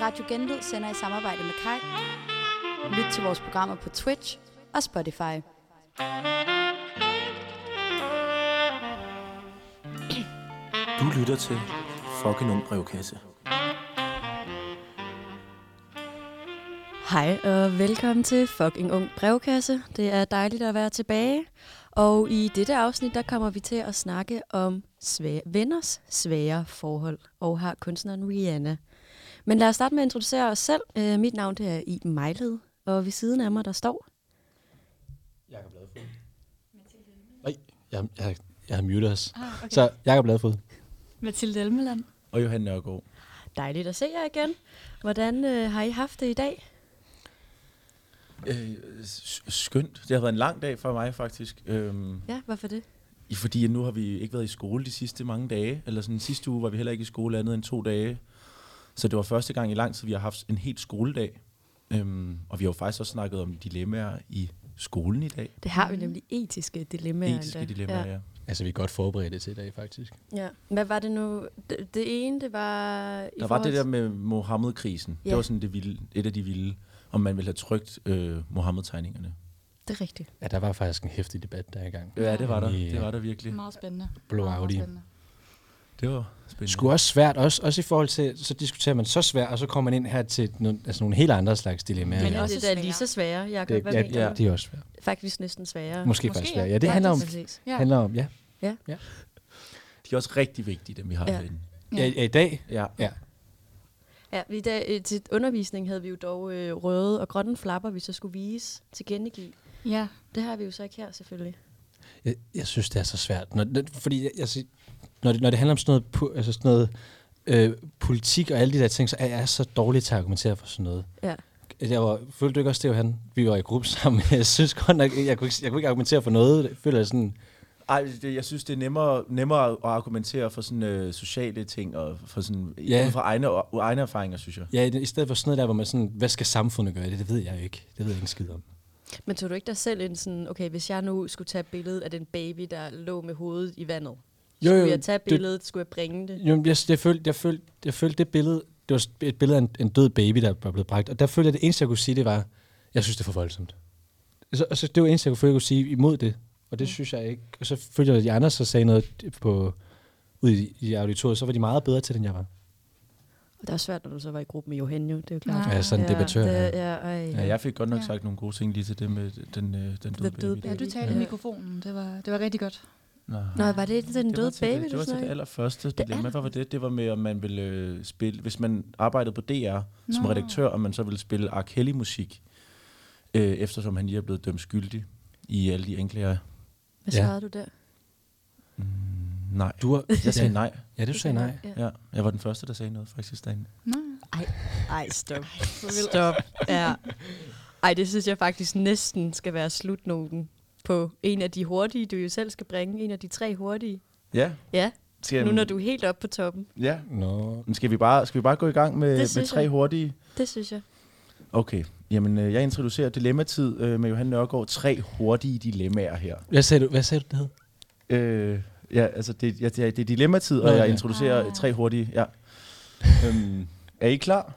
Radio Genlyd sender i samarbejde med Kai. Lyt til vores programmer på Twitch og Spotify. Du lytter til fucking ung brevkasse. Hej og velkommen til Fucking Ung Brevkasse. Det er dejligt at være tilbage. Og i dette afsnit, der kommer vi til at snakke om svære, venners svære forhold og har kunstneren Rihanna. Men lad os starte med at introducere os selv. Øh, mit navn det er Iben Mejled, og ved siden af mig, der står... Jakob Ladefod. Nej, jeg, jeg, jeg har muted os. Ah, okay. Så Jakob Ladefod. Mathilde Elmeland. Og Johan Nørgaard. Dejligt at se jer igen. Hvordan øh, har I haft det i dag? Øh, s- skønt. Det har været en lang dag for mig faktisk. Øhm, Ja, hvorfor det? i- fordi nu har vi ikke været i skole de sidste mange dage. Eller sådan sidste uge var vi heller ikke i skole andet end to dage. Så det var første gang i lang tid, vi har haft en helt skoledag. Øhm, og vi har jo faktisk også snakket om dilemmaer i skolen i dag. Det har vi nemlig etiske dilemmaer. Etiske endda. dilemmaer, ja. Altså, vi er godt forberedte til i dag, faktisk. ja. Hvad var det nu? Det, det ene, det var... I Der var forhold- det der med Mohammed-krisen. Ja. Det var sådan det vilde, et af de vilde, om man ville have trygt øh, Mohammed-tegningerne. Det er rigtigt. Ja, der var faktisk en hæftig debat der er i gang. Ja, det var der. Ja. Det var der virkelig. Meget spændende. Blå Meget, meget Audi. spændende. Det var spændende. Sku også svært, også, også i forhold til, så diskuterer man så svært, og så kommer man ind her til nogle, altså nogle helt andre slags dilemmaer. Men Ja. ja. også det Også er da svære. lige så svære, Jacob. det, Hvad ja, mener ja, du? det er også svært. Faktisk næsten sværere. Måske, Måske faktisk svært. Ja, det handler om, Præcis. Ja. handler om ja. De er også rigtig vigtige, dem vi har Ja. ja. herinde. Ja. ja. i dag, Ja. ja. Ja, i dag, øh, til undervisning havde vi jo dog øh, røde og grønne flapper, vi så skulle vise til gengive. Ja. Det har vi jo så ikke her, selvfølgelig. Jeg, jeg synes, det er så svært. Når, når- fordi jeg, jeg, sig- når, det, når det handler om sådan noget, pu- altså sådan noget øh, politik og alle de der ting, så er jeg så dårlig til at argumentere for sådan noget. Ja. Jeg var, følte du ikke også, det var han? Vi var i gruppe sammen. Jeg synes godt nok, jeg kunne, ikke, jeg kunne ikke argumentere for noget. Jeg føler jeg sådan, Ej, det, jeg synes, det er nemmere, nemmere at argumentere for sådan, øh, sociale ting og for sådan, Ja. ja. ud fra egne, egne erfaringer, synes jeg. ja, i stedet for sådan noget der, hvor man sådan, hvad skal samfundet gøre? Det, det ved jeg jo ikke. Det ved jeg ikke en skid om. Men tog du ikke dig selv en sådan, okay, hvis jeg nu skulle tage billedet af den baby, der lå med hovedet i vandet, Jo, skulle jo, jeg tage det- billedet, skulle jeg bringe det? Jo, men jeg, jeg, følte, jeg, følte, jeg følte det billede, det var et billede af en, en død baby, der var blevet bragt. Og der følte jeg, det eneste, jeg kunne sige, det var, jeg synes, det er for voldsomt. Så, og så det var det eneste, jeg kunne, føle, jeg kunne sige imod det. Og det synes jeg ikke. Og så følte jeg, at de andre så sagde noget på, ude i, i auditoriet, så var de meget bedre til det, end jeg var. Og det er svært, når du så var i gruppe med Johan, jo, det er jo klart. Ah, Ja, sådan en ja, debattør. Det, ja. ja, ej, Ja, jeg fik godt nok Ja. sagt nogle gode ting lige til det med den, øh, den døde døde baby. Ja, der. du talte i mikrofonen. Det var, det var rigtig godt. Nej. Nå, var det den Det var døde til baby, det, det du var til det snakkede? allerførste dilemma. Hvad var det? Det var med, om man ville øh, spille... Hvis man arbejdede på DR som Nå. redaktør, om man så ville spille R. Kelly-musik, øh, eftersom han lige er blevet dømt skyldig i alle de anklager. Hvad Ja. svarede du der? Nej. Du var, Jeg sagde nej. Ja, det du sagde nej. Ja. Ja, jeg var den første, der sagde noget faktisk derinde. Nå. Ej, stop. Stop. Ja. Ej, det synes jeg faktisk næsten skal være slutnoten på en af de hurtige, du jo selv skal bringe. En af de tre hurtige. Ja. Ja, Skal jeg- nu når du er helt oppe på toppen. Ja. Nå. Men Skal vi bare, skal vi bare gå i gang med, Det med synes tre jeg. hurtige? Det synes jeg. Okay, jamen øh, jeg introducerer Dilemmatid øh, med Johan Nørgaard. Tre hurtige dilemmaer her. Hvad sagde du, hvad sagde du det hed? Øh, ja, altså det, ja, det, er, det er Dilemmatid, og Nå, jeg ja. introducerer Ah. tre hurtige. Ja. øhm, er I klar?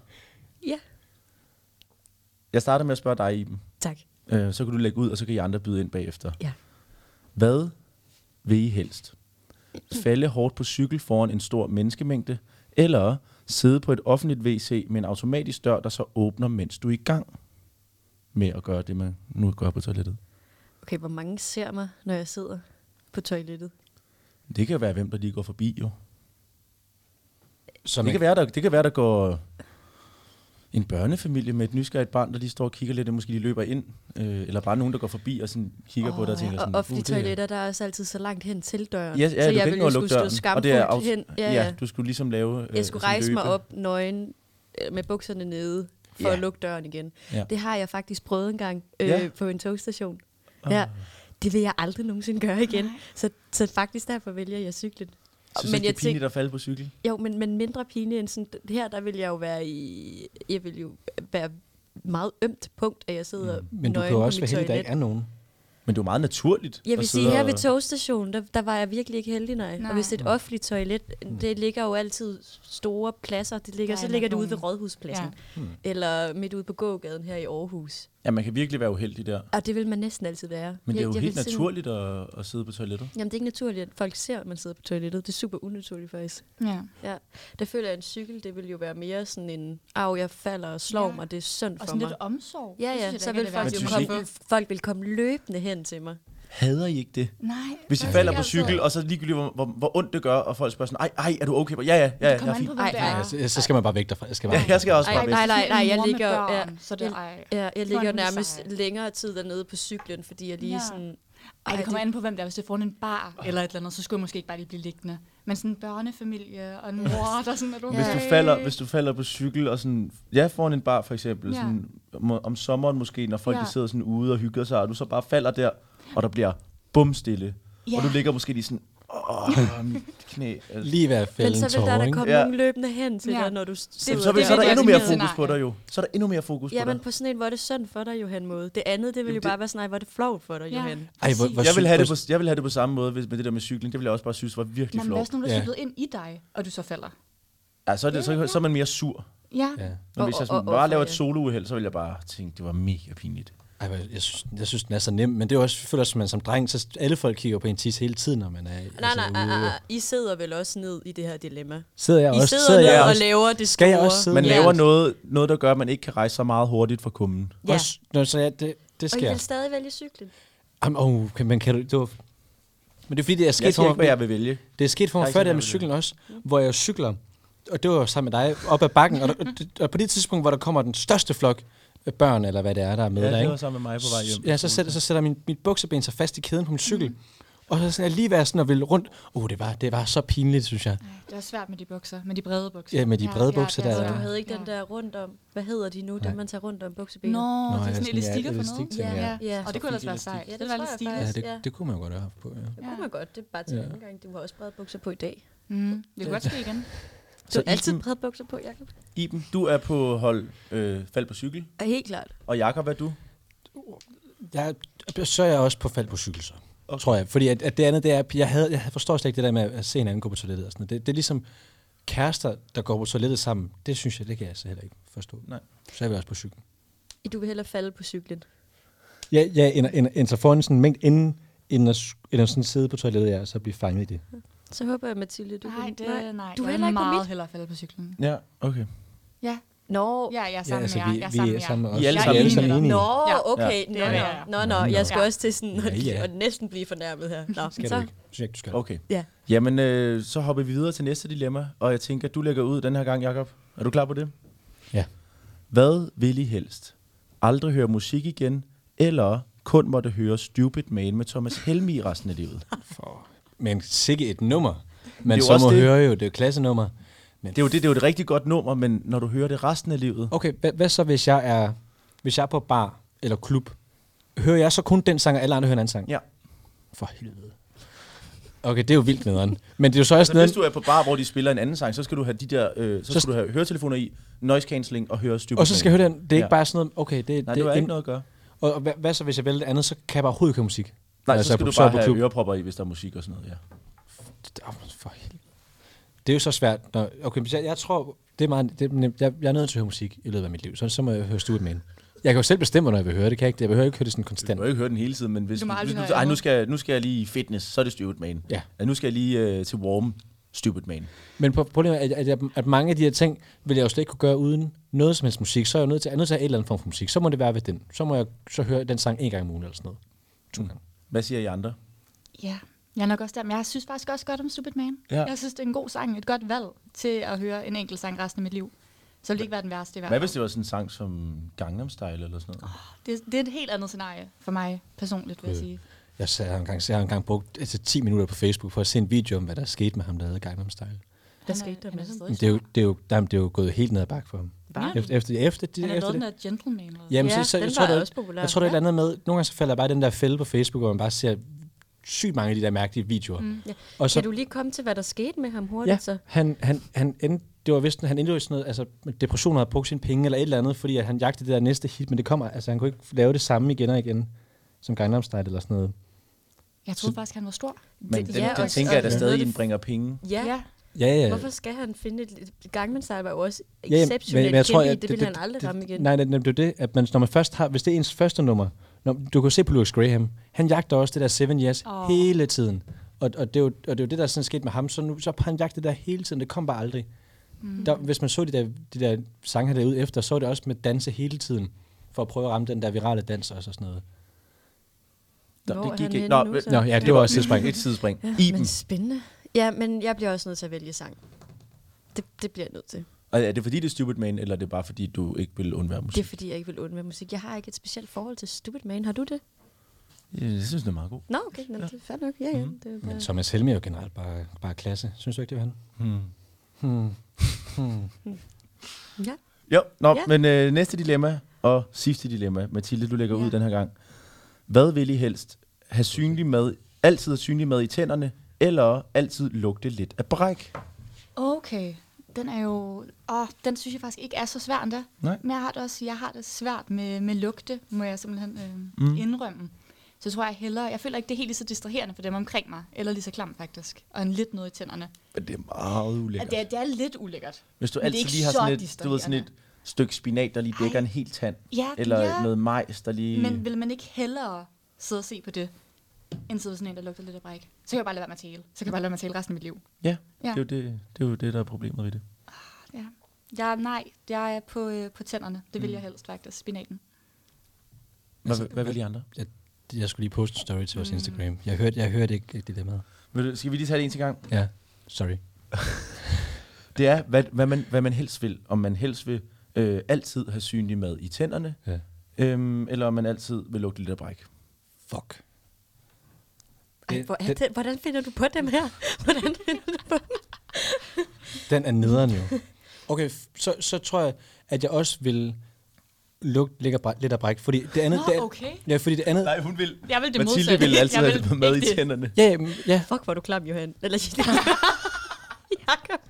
Ja. Jeg starter med at spørge dig, Iben. Tak. Øh, så kan du lægge ud, og så kan I andre byde ind bagefter. Ja. Hvad vil I helst? Falde hårdt på cykel foran en stor menneskemængde, eller sidde på et offentligt WC med en automatisk dør, der så åbner, mens du er i gang med at gøre det, man nu gør på toilettet? Okay, hvor mange ser mig, når jeg sidder på toilettet? Det kan jo være, hvem der lige går forbi, jo. Så Det kan være, der, det kan være, der går en børnefamilie med et nysgerrigt barn, der lige står og kigger lidt, og måske de løber ind, øh, eller bare nogen, der går forbi og sådan kigger oh, på dig og ja, tænker og sådan, offentlige "Uh, det er- toiletter, der er også altid så langt hen til døren. Ja, ja, så du jeg kan ikke nå ville at jo lukke skulle døren. stå skamfuldt af- hen. ja, ja, du skulle ligesom lave... øh, Jeg skulle sådan rejse mig løbe. op nøgen øh, med bukserne nede for Ja. at lukke døren igen. Ja. Det har jeg faktisk prøvet en gang øh, Ja. Ah. på en togstation. Ja. Det vil jeg aldrig nogensinde gøre igen. Så, så faktisk derfor vælger jeg cyklen. Synes men ikke, det er pinligt at falde på cykel? jo, men, men mindre pinligt end sådan, her, der vil jeg jo være i, jeg vil jo være meget ømt punkt, at jeg sidder mm. Men du kan jo også være heldig, at der ikke er nogen. Men det er jo meget naturligt. Jeg at vil sidde sige, her og- ved togstationen, der, der var jeg virkelig ikke heldig, nej. nej. Nej. Og hvis det er et offentligt toilet, Mm. det ligger jo altid store pladser. Det ligger, Der så er ligger det nok ude ved nogen. Rådhuspladsen. Ja. Mm. Eller midt ude på gågaden her i Aarhus. Ja, man kan virkelig være uheldig der. Og det vil man næsten altid være. Men det er jo jeg helt vil simpelthen- naturligt at, at sidde på toilettet. Jamen, det er ikke naturligt, at folk ser, at man sidder på toilettet. Det er super unaturligt, faktisk. Ja. Ja. Der føler jeg, at en cykel, det vil jo være mere sådan en, af jeg falder og slår ja. Ja. mig, det er synd Og for sådan mig. lidt omsorg. Ja, Det ja, synes jeg da så ikke er vil det folk værste. jo Men synes komme, folk vil komme løbende hen til mig. Hader I ikke det? Nej. Hvis I det er falder ikke på altid. cykel, og så ligegyldigt, hvor, hvor, hvor ondt det gør, og folk spørger sådan, ej, ej, er du okay? Ja, ja, ja, ja Det jeg kommer er an fint. på, hvem Ej, det ej, er. Altså, jeg- så skal man bare væk derfra. Jeg skal bare Ja, jeg skal også Ej, bare hvis væk. nej, det er nej, nej, en jeg mor med ligger- børn, ja. Så det, ej. Ja, jeg Hvor er ligger hun nærmest sej. længere tid dernede på cyklen, fordi jeg lige ja. Ja. sådan... Ej, det kommer det- an på, hvem det er. Hvis det er foran en bar eller et eller andet, så skulle jeg måske ikke bare lige blive liggende. Men sådan en børnefamilie og en mor, der sådan, er du okay? Hvis du, falder, hvis du falder på cykel og sådan, ja, foran en bar for eksempel, Ja. sådan, om, om sommeren måske, når folk Ja. de sidder sådan ude og hygger sig, og du så bare falder der, og der bliver bumstille, Ja. og du ligger måske lige sådan, åh, mit knæ. Altså. Lige ved at Men fælde så en vil der tårer, da ikke? komme ja. Ja. nogen løbende hen til ja. Ja. dig, når du sidder Jamen, så, vil, så er det der er endnu det mere scenarie. fokus på dig jo. Så er der endnu mere fokus på Jamen dig. på sådan en, hvor er det synd for dig, Johan måde. Det andet, det vil Jamen, jo det- bare være sådan, "Ej, hvor er det flovt for dig, Ja. Johan. Ej, hvor, hvor Jeg vil, have det sygt- på, jeg vil have det på samme måde hvis, med det der med cykling. Det vil jeg også bare synes var virkelig Jamen, hvad hvis flot. nogen, der Ja. ja. cyklede ind i dig, og du så falder? Ja, så, er det, så, så er man mere sur. Ja. Ja. Men Og- hvis jeg og- sådan og- bare og- laver et ja. solouheld, så vil jeg bare tænke, det var mega pinligt. Ej, hvor- jeg, synes, jeg synes, den er så nem, men det er jo også, jeg føler, at man som dreng, så alle folk kigger på en tis hele tiden, når man er altså, Nej, nej, nej, ude. nej, nej. I sidder vel også ned i det her dilemma. Sidder jeg I også? sidder ned jeg og også? laver det Skal jeg store. også sidde Man Ja. laver noget, noget, der gør, at man ikke kan rejse så meget hurtigt fra kummen. Ja. Også, når, så ja, det, det Og I sker. vil stadig vælge cyklen. Jamen, oh, kan, men kan du, det var, men det er fordi, det er Jeg sket siger for ikke, hvad mig, jeg vil vælge. det er sket for Jeg er mig ikke før, sådan, det her jeg med cyklen også, hvor jeg cykler, og det var sammen med dig, op ad bakken, og, og, og på det tidspunkt, hvor der kommer den største flok af børn, eller hvad det er, der er med Ja, der, det ikke? var sammen med mig på vej hjem. Ja, så sætter, så sætter min, mit bukseben sig fast i kæden på min cykel, mm. og så sådan, jeg lige være sådan og ville rundt. Åh, oh, det var, det var så pinligt, synes jeg. Det er svært med de bukser, med de brede bukser. Ja, med de brede bukser der, Ja, ja. du havde ikke den der rundt om. Hvad hedder de nu, Nej. dem man tager rundt om buksebenet? Nå, det ja, er sådan sådan, ja, elastikker for noget. elastikting, ja. Ja. Og det kunne ellers være sejt. Ja, det det var tror lidt jeg stilet. Ja, faktisk. det, det kunne man jo godt have haft på, ja. Det kunne man godt. Det er bare til Ja. ja. anden gang. Du har også brede bukser på i dag. Mm. Vi kunne godt ske igen. Du Så har altid Iben, brede bukser på, Jacob. Iben, du er på hold øh, fald på cykel. Ja, helt klart. Og Jakob, hvad er du? Jeg, så er jeg også på fald på cykel, så. Okay. Tror jeg. Fordi at, at det andet, det er, at jeg, havde, jeg forstår slet ikke det der med at se en anden gå på toilettet. Og sådan noget. Det, det er ligesom kærester, der går på toilettet sammen. Det synes jeg, det kan jeg så heller ikke forstå. Nej. Så er vi også på cyklen. Du vil hellere falde på cyklen. Ja, ja end, end, end så foran sådan en mængde inden, end at, end at sådan sidde på toilettet, ja, og så blive fanget i det. Så håber jeg, Mathilde, du Nej, kan... det, nej. Du Du er vil heller ikke på meget mit. hellere falde på cyklen. Ja, okay. Ja, Nå, ja jeg er sammen altså, med jer. vi, Jeg er vi sammen er sammen med med jer. I os. er alle Vi sammen alle enige. enige. Nå, Ja. okay. Ja. Nå, Det nå, er jeg. nå, nå. Nå, Jeg nå. skal også til sådan at, Ja, ja. at næsten blive fornærmet her. Nå, Skal så. du ikke? Synes jeg ikke, du skal. Okay. Ja. Jamen, øh, så hopper vi videre til næste dilemma, og jeg tænker, du lægger ud den her gang, Jakob. Er du klar på det? Ja. Hvad vil I helst? Aldrig høre musik igen, eller kun måtte høre Stupid Man med Thomas Helmi resten af livet? Men sikke et nummer. Man jo så også må det. høre jo, det er jo klassenummer. Men Det er jo, det, det er jo et rigtig godt nummer, men når du hører det resten af livet... Okay, hvad, hvad så hvis jeg er hvis jeg er på bar eller klub? Hører jeg så kun den sang, og alle andre hører en anden sang? Ja. For helvede. Okay, det er jo vildt nederen. Men det er jo så også Så hvis nederen. du er på bar, hvor de spiller en anden sang, så skal du have de der, øh, så Så- skal du have høretelefoner i, noise cancelling og høre Stupid Og så skal jeg høre den. Det er ikke Ja. bare sådan noget, okay, det, Nej, det det har en- ikke noget at gøre. Og, og hvad, hvad, så hvis jeg vælger det andet, så kan jeg bare overhovedet ikke høre musik? Nej, Når altså, jeg så er skal på- du så er bare jeg på have klub. ørepropper i, hvis der er musik og sådan noget, ja. Åh, for helvede. Det er jo så svært. Når, okay, men jeg, jeg tror, det er meget, det er nemt. Jeg, jeg er nødt til at høre musik i løbet af mit liv, så, så må jeg høre Stupid Man. Jeg kan jo selv bestemme, når jeg vil høre det. Kan jeg, ikke det? jeg behøver ikke høre det sådan Du konstant. må jo ikke høre den hele tiden, men hvis, Du må aldrig hvis høre nu, ej, nu andet. skal, jeg- nu skal jeg lige i fitness, så er det Stupid Man. Ja. nu skal jeg lige øh, til warm, Stupid Man. Men pro- problemet er, at, at, jeg, at mange af de her ting, vil jeg jo slet ikke kunne gøre uden noget som helst musik. Så er jeg jo nødt til, jeg er nødt til at have et eller andet form for musik. Så må det være ved den. Så må jeg så høre den sang en gang om ugen eller sådan noget. To gange. Hvad siger I andre? Ja, jeg er nok også der, men jeg synes faktisk også godt om Stupid Man. Ja. Jeg synes, det er en god sang, et godt valg til at høre en enkelt sang resten af mit liv. Så vil det ikke være den værste i Hvad verden. hvis det var sådan en sang som Gangnam Style eller sådan noget? Det, det er et helt andet scenarie for mig personligt, vil jeg Øh. sige. Jeg, sad, jeg, har engang, jeg har engang brugt altså, 10 minutter på Facebook for at se en video om, hvad der skete med ham, der lavede Gangnam Style. Der skete der med. Men det, er jo, det, er jo, jamen, det er jo gået helt ned ad bakke for ham. Bare. Efter, efter, efter, Han de, har efter lavet den det. der gentleman. Eller? Jamen, Ja, så, så, den jeg tror, var det, også populær. Jeg tror, det er et eller andet med, nogle gange så falder jeg bare i den der fælde på Facebook, hvor man bare ser sygt mange af de der mærkelige videoer. Mm. Ja. Og Kan du lige komme til, hvad der skete med ham hurtigt så? han, han, han endte, det var vist, han endte jo i sådan noget, altså depression havde brugt sine penge eller et eller andet, fordi at han jagtede det der næste hit, men det kommer, altså han kunne ikke lave det samme igen og igen. som Gangnam Style eller sådan noget. Jeg troede faktisk, han var stor. Men det, ja, ja, det, og- det tænker jeg og da noget af stadig det- indbringer penge. Ja. ja. Ja, ja. Hvorfor skal han finde et... Gangnam Style var jo også Øh. ja, exceptionelt ja, men, men jeg tror, jeg, det, ville han aldrig ramme igen. Nej, det, det, det er jo det, at man, når man først har, hvis det er ens første nummer, når, du kan jo se på Louis Graham, han jagter også det der Seven Years Åh. oh. hele tiden. Og, og, det er jo, og det er jo det, der er sådan sket med ham, så nu så har han jagtet det der hele tiden, det kom bare aldrig. Mm. Der, hvis man så de der, de der sange, han derude efter, så var det også med danse hele tiden, for at prøve at ramme den der virale dans også og sådan noget. Nå, Hvor er det han gik ikke. henne Nå, nu, vel- så? Nå, ja, det var også sidespring. Et sidespring. Ja, Iben. men spændende. Ja, men jeg bliver også nødt til at vælge sang. Det, det bliver jeg nødt til. Og er det fordi, det er Stupid Man, eller er det bare fordi, du ikke vil undvære Det er musik? fordi, jeg ikke vil undvære musik. Jeg har ikke et specielt forhold til Stupid Man. Har du det? Ja, Jeg synes, det er meget godt. Nå, okay. Nå, det er fair nok. Ja, ja. Det er Men bare... Thomas Helme er jo generelt bare, bare klasse. Synes du ikke, det var han? ja. Jo, nå, Ja. ja. men øh, næste dilemma og sidste dilemma. Mathilde, du lægger ja. Ja. ud den her gang. Hvad vil I helst? Have synlig mad, altid have synlig mad i tænderne, eller altid lugte lidt af bræk? Okay, den er jo... Åh, den synes jeg faktisk ikke er så svær endda. Nej. Men jeg har det også jeg har det svært med, med lugte, må jeg simpelthen øh, Mm. mm. indrømme. Så tror jeg hellere... Jeg føler ikke, det er helt lige så distraherende for dem omkring mig, eller lige så klam faktisk, og en lidt noget i tænderne. Men det er meget Ja, ulækkert. det, er, det er lidt ulækkert. Hvis du Men altid det er ikke lige har så sådan et, du ved, sådan et distraherende. stykke spinat, der lige dækker Ej. en hel tand. Ja, Eller ja. noget majs, der lige... Men vil man ikke hellere sidde og se på det, end sidde ved sådan en, der lugter lidt af bræk? Så kan jeg bare lade være med at tale. Så kan jeg bare lade være med at tale resten af mit liv. ja, Ja. Det, er jo det, det er jo det, der er problemet ved det. Ja. Jeg, nej, jeg er på, øh, på tænderne. Det Mm. vil jeg helst faktisk, spinaten. Hvad, Altså, hvad vil I andre? Jeg, jeg skulle lige poste en story til vores Mm. Instagram. Jeg hørte, jeg hørte ikke det der med. Vil du- Skal vi lige tage det en til gang? Ja, sorry. Det er, hvad, hvad, man, hvad man helst vil. Om man helst vil øh, altid have synlig mad i tænderne, Ja. øhm, eller om man altid vil lugte lidt af bræk. Fuck. Ej, hvor er det, hvordan finder du på dem her? Hvordan finder du på dem? Den er nederen jo. Okay, f- så, så tror jeg, at jeg også vil lugte lidt af bræk, lidt af bræk fordi det andet... Nå, det, er- okay. Ja, fordi det andet... Nej, hun vil. Jeg vil det Mathilde modsatte. vil altid Jeg have vil lidt mad i ikke det. tænderne. Ja, jamen, ja. Fuck, hvor er du klam, Johan. Eller Jakob.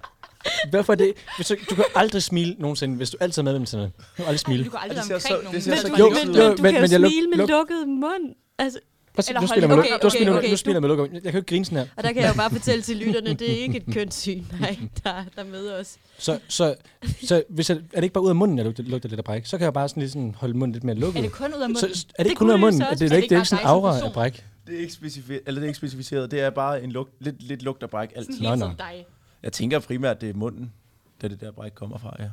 Hvorfor er det? Hvis du, du kan aldrig smile nogensinde, hvis du altid er med dem til noget. Du kan aldrig Ej, smile. Du kan aldrig Ja, det være ser så- omkring nogen. det ser Men, så du, godt jo, ud. men, Jo, men, jo, du men- kan men jo jeg luk- smile med luk- lukket mund. Altså, Prøv at se, Eller nu hold- spiller man okay, okay, okay, spiller, okay, okay. okay. Nu spiller man lukker. Jeg kan jo ikke grine sådan her. og der kan jeg jo bare fortælle til lytterne, det er ikke et kønssyn, nej, der, der er med os. Så, så, så hvis jeg, er det ikke bare ud af munden, jeg lugter, lugter lidt af bræk? Så kan jeg bare sådan, lige sådan holde munden lidt mere lukket. Er det kun ud af så, munden? er det, ikke kunne kun ud af det jo munden? så Er også- det, det er det er ikke, det er ikke ikke sådan en bare aura dig som af person? bræk? Det er ikke, specifi- eller det er ikke specificeret. Det er bare en lugt, lidt, lidt lugt af bræk altid. Sådan hele Nå, tiden nå. dig. Jeg tænker primært, det er munden, da det der bræk kommer fra, ja.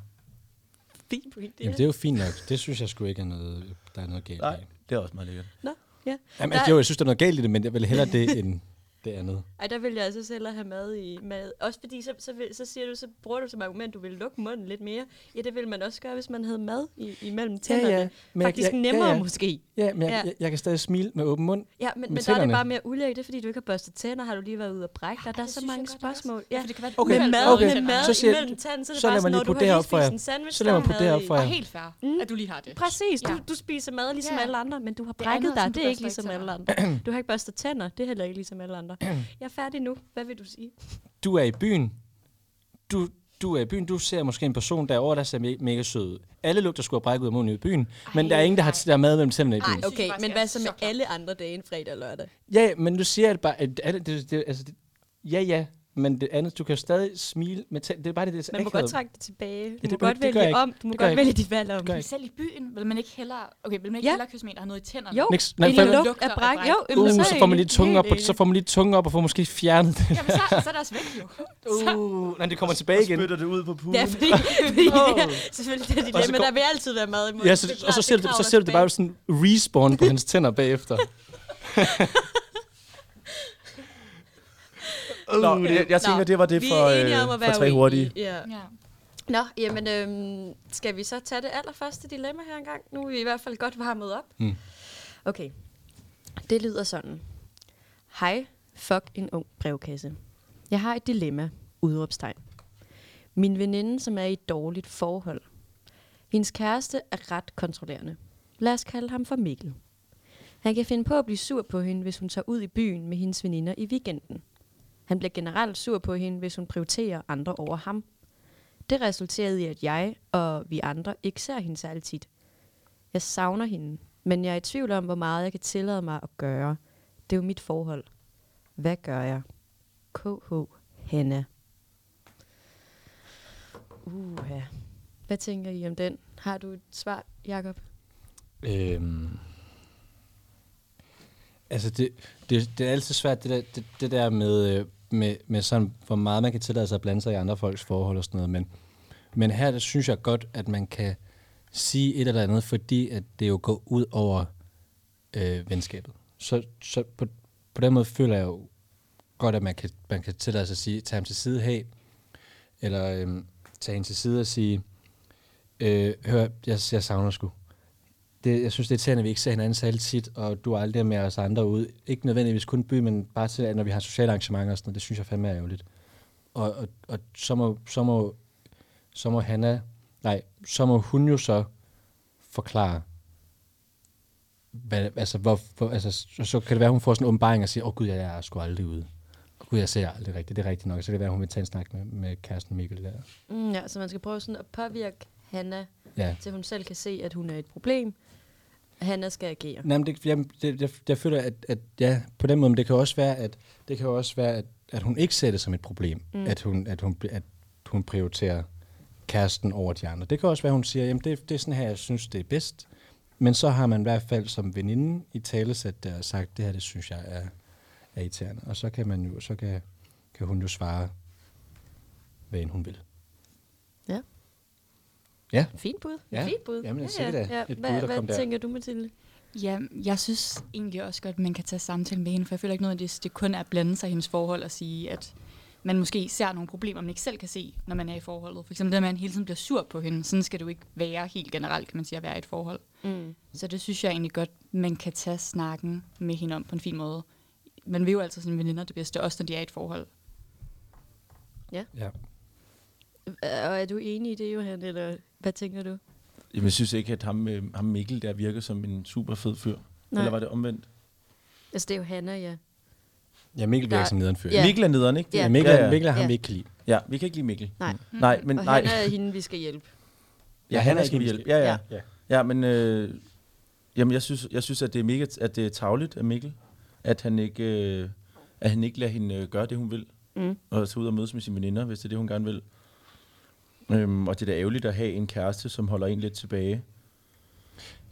Fint pointe. Jamen, det er jo fint nok. Det synes jeg sgu ikke er noget, der er noget galt i. Nej, det er også meget lækkert. Nå, ja. Jamen, Der- jo, jeg synes, der er noget galt i det, men jeg vil hellere det end det andet. Ej, der vil jeg altså selv have mad i mad. Også fordi, så, så, vil, så, siger du, så bruger du som argument, du vil lukke munden lidt mere. Ja, det ville man også gøre, hvis man havde mad i, imellem tænderne. ja. Men Faktisk jeg- ja, nemmere ja. måske. Ja, men jeg, Ja. ja. Jeg, jeg kan stadig smile med åben mund. Ja, men, Med men der er det tænderne. bare mere ulækkert, det er, fordi du ikke har børstet tænder, har du lige været ude og brække dig. Der er så mange spørgsmål. Ja, Ja. for Altså, det kan være et Okay, uheld, Med mad, der er okay. i med mad Så så siger- imellem tanden, så er det så lad bare mig sådan, lige når du har putte det lige her op for spist jer. en sandwich, Så lad der mig er putte det mad her op i. for jer. Og helt fair, at Mm. du lige har det. Præcis, du, Ja. du spiser mad ligesom Ja. alle andre, men du har Det er brækket noget, som dig, du det er ikke børster ligesom ikke alle andre. Du har ikke børstet tænder, det er heller ikke ligesom alle andre. Jeg er færdig nu, hvad vil du sige? Du er i byen. Du, du er i byen. Du ser måske en person derovre, der ser me- mega sød. ud. Alle lugter skulle have brækket ud af munden i byen, men der er ingen, der har der er mad mellem tænderne i byen. synes jeg faktisk, jeg er så klar. alle andre dage end fredag og lørdag? Ja, ja, men nu siger jeg det bare, at det, det, det, altså, det, ja, ja, men det andet, du kan jo stadig smile med tænd. Det er bare det, det er Man må akavet. godt trække det tilbage. Du ja, det- må men godt det gør jeg vælge ikke. om. Du må Det gør godt jeg vælge dit valg om. Det gør jeg Men selv i byen, vil man ikke hellere... Okay, vil man ikke Ja. hellere kysse med en, der har noget i tænderne? Jo, Niks- nej, en fandme- lugt af Lugter af bræk. bræk. Jo, Uh, jamen, så, er får man jeg lige tungen op, helt og, så enig. får man lige tungen op og får måske fjernet det. Jamen, så, så er deres væk jo. Uh, nej, det kommer tilbage igen. Spytter det ud på puden. Ja, fordi, fordi det er selvfølgelig det er dilemma, går- der vil altid være mad i munden. Ja, Det er så, og klart, så ser, du, så kravler ser du det bare tilbage. sådan respawn på hans tænder bagefter. Nå, jeg, jeg tænker, det var det Vi for, er enige om at øh, være for tre uenige. hurtige. Ja. Ja. Nå, jamen, øhm, skal vi så tage det allerførste dilemma her engang? Nu er vi i hvert fald godt varmet op. Mm. Okay, det lyder sådan. Hej, fuck en ung brevkasse. Jeg har et dilemma, udråbstegn. Min veninde, som er i et dårligt forhold. Hendes kæreste er ret kontrollerende. Lad os kalde ham for Mikkel. Han kan finde på at blive sur på hende, hvis hun tager ud i byen med hendes veninder i weekenden. Han bliver generelt sur på hende, hvis hun prioriterer andre over ham. Det resulterede i, at jeg og vi andre ikke ser hende særlig tit. Jeg savner hende, Men jeg er i tvivl om, hvor meget jeg kan tillade mig at gøre. Det er jo mit forhold. Hvad gør jeg? KH Hanna. Uha. Hvad tænker I om den? Har du et svar, Jakob? Øhm, altså, det, det, det er altid svært, det der, det, det der med, øh, med, med sådan, hvor meget man kan tillade sig at blande sig i andre folks forhold og sådan noget. Men, men her, der synes jeg godt, at man kan sige et eller andet, fordi at det jo går ud over øh, venskabet. Så, så på, på den måde føler jeg jo godt, at man kan, man kan tillade sig at sige, tage ham til side, hey, eller øhm, tage hende til side og sige, øh, hør, jeg, jeg savner sgu det, jeg synes, det er irriterende, at vi ikke ser hinanden særlig tit, og du er aldrig med os andre ud. Ikke nødvendigvis kun by, men bare til, at når vi har sociale arrangementer og sådan noget. Det synes jeg fandme er ærgerligt. Og, og, og så, må, så, må, så må Hanna, nej, så må hun jo så forklare, hvad, altså, hvor, hvor, altså, så, så kan det være, hun får sådan en åbenbaring og siger, åh oh, gud, jeg er sgu aldrig ude. Og gud, jeg ser aldrig rigtigt. Det er rigtigt nok. Så kan det være, hun vil tage en snak med, med kæresten Mikkel der. Mm, ja, så man skal prøve sådan at påvirke Hanna, Ja. til hun selv kan se, at hun er et problem. Hanna skal agere. Nej, men det, jeg, det, jeg, jeg føler, at, at ja, på den måde, men det kan også være, at, det kan jo også være, at, at hun ikke ser det som et problem, mm. at, hun, at, hun, at hun prioriterer kæresten over de andre. Det kan også være, at hun siger, jamen det, det er sådan her, jeg synes, det er bedst. Men så har man i hvert fald som veninde i talesat der og sagt, det her, det synes jeg er, er irriterende. Og så kan, man jo, så kan, kan hun jo svare, hvad end hun vil. Ja. Ja. Fint bud. Ja. Fint bud. Jamen, sikkert da. Et bud, Hvad, der kom hvad der. tænker du, Mathilde? Ja, jeg synes egentlig også godt, at man kan tage samtale med hende, for jeg føler ikke noget, at det, det kun er at blande sig i hendes forhold og sige, at man måske ser nogle problemer, man ikke selv kan se, når man er i forholdet. For eksempel det, at man hele tiden bliver sur på hende. Sådan skal det jo ikke være helt generelt, kan man sige, at være i et forhold. Mm. Så det synes jeg egentlig godt, man kan tage snakken med hende om på en fin måde. Man vil jo altid sine veninder det bedste, også når de er i et forhold. Ja. Øh, Og er du enig i det, Johan, eller hvad tænker du? Jamen, jeg synes ikke, at ham, øh, ham Mikkel der virker som en super fed fyr. Nej. Eller var det omvendt? Altså, det er jo Hanna, ja. Ja, Mikkel Der- virker som nederen fyr. Ja. Ja. Mikkel er nederen, ikke? Ja. Ja, Mikkel, ja, ja. Mikkel er ham, Ja. vi ikke kan lide. ja, vi kan ikke lide Mikkel. Nej. Mm. Nej, men og nej. Hanna er hende, vi skal hjælpe. Ja, han er ikke hjælp. Ja, ja. Ja. Ja, men øh, jamen, jeg, synes, jeg synes, at det er mega, at det er tavligt af Mikkel, at han ikke, øh, at han ikke lader hende øh, gøre det, hun vil. Mm. Og tage ud og mødes med sine veninder, hvis det er det, hun gerne vil. Øhm, og det er da ærgerligt at have en kæreste, som holder en lidt tilbage.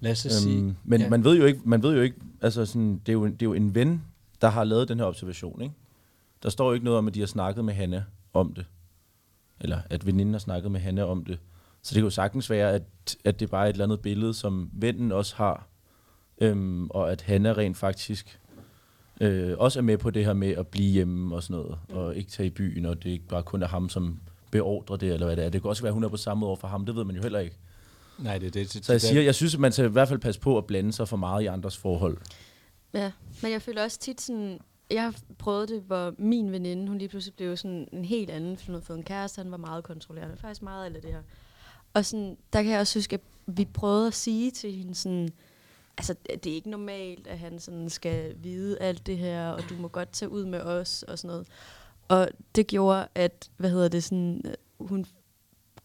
Lad os så Øhm, sige... men ja. ja. man ved jo ikke, man ved jo ikke altså sådan, det, er jo, en- det er jo en ven, der har lavet den her observation. Ikke? Der står jo ikke noget om, at de har snakket med Hanna om det. Eller at veninden har snakket med Hanna om det. Så det kan jo sagtens være, at, at det bare er et eller andet billede, som vennen også har. Øhm, og at Hanna rent faktisk øh, også er med på det her med at blive hjemme og sådan noget. Og ikke tage i byen, og det ikke bare kun er ham, som beordrer det, eller hvad det er. Det kan også være, at hun er på samme over for ham. Det ved man jo heller ikke. Nej, det er det. det Så jeg siger, jeg synes, at man skal i hvert fald passe på at blande sig for meget i andres forhold. Ja, men jeg føler også tit sådan... Jeg har prøvet det, hvor min veninde, hun lige pludselig blev sådan en helt anden, fordi hun havde fået en kæreste, han var meget kontrollerende, faktisk meget alt det her. Og sådan, der kan jeg også huske, at vi prøvede at sige til hende sådan, altså det er ikke normalt, at han sådan skal vide alt det her, og du må godt tage ud med os og sådan noget. Og det gjorde, at, hvad hedder det, sådan, øh, hun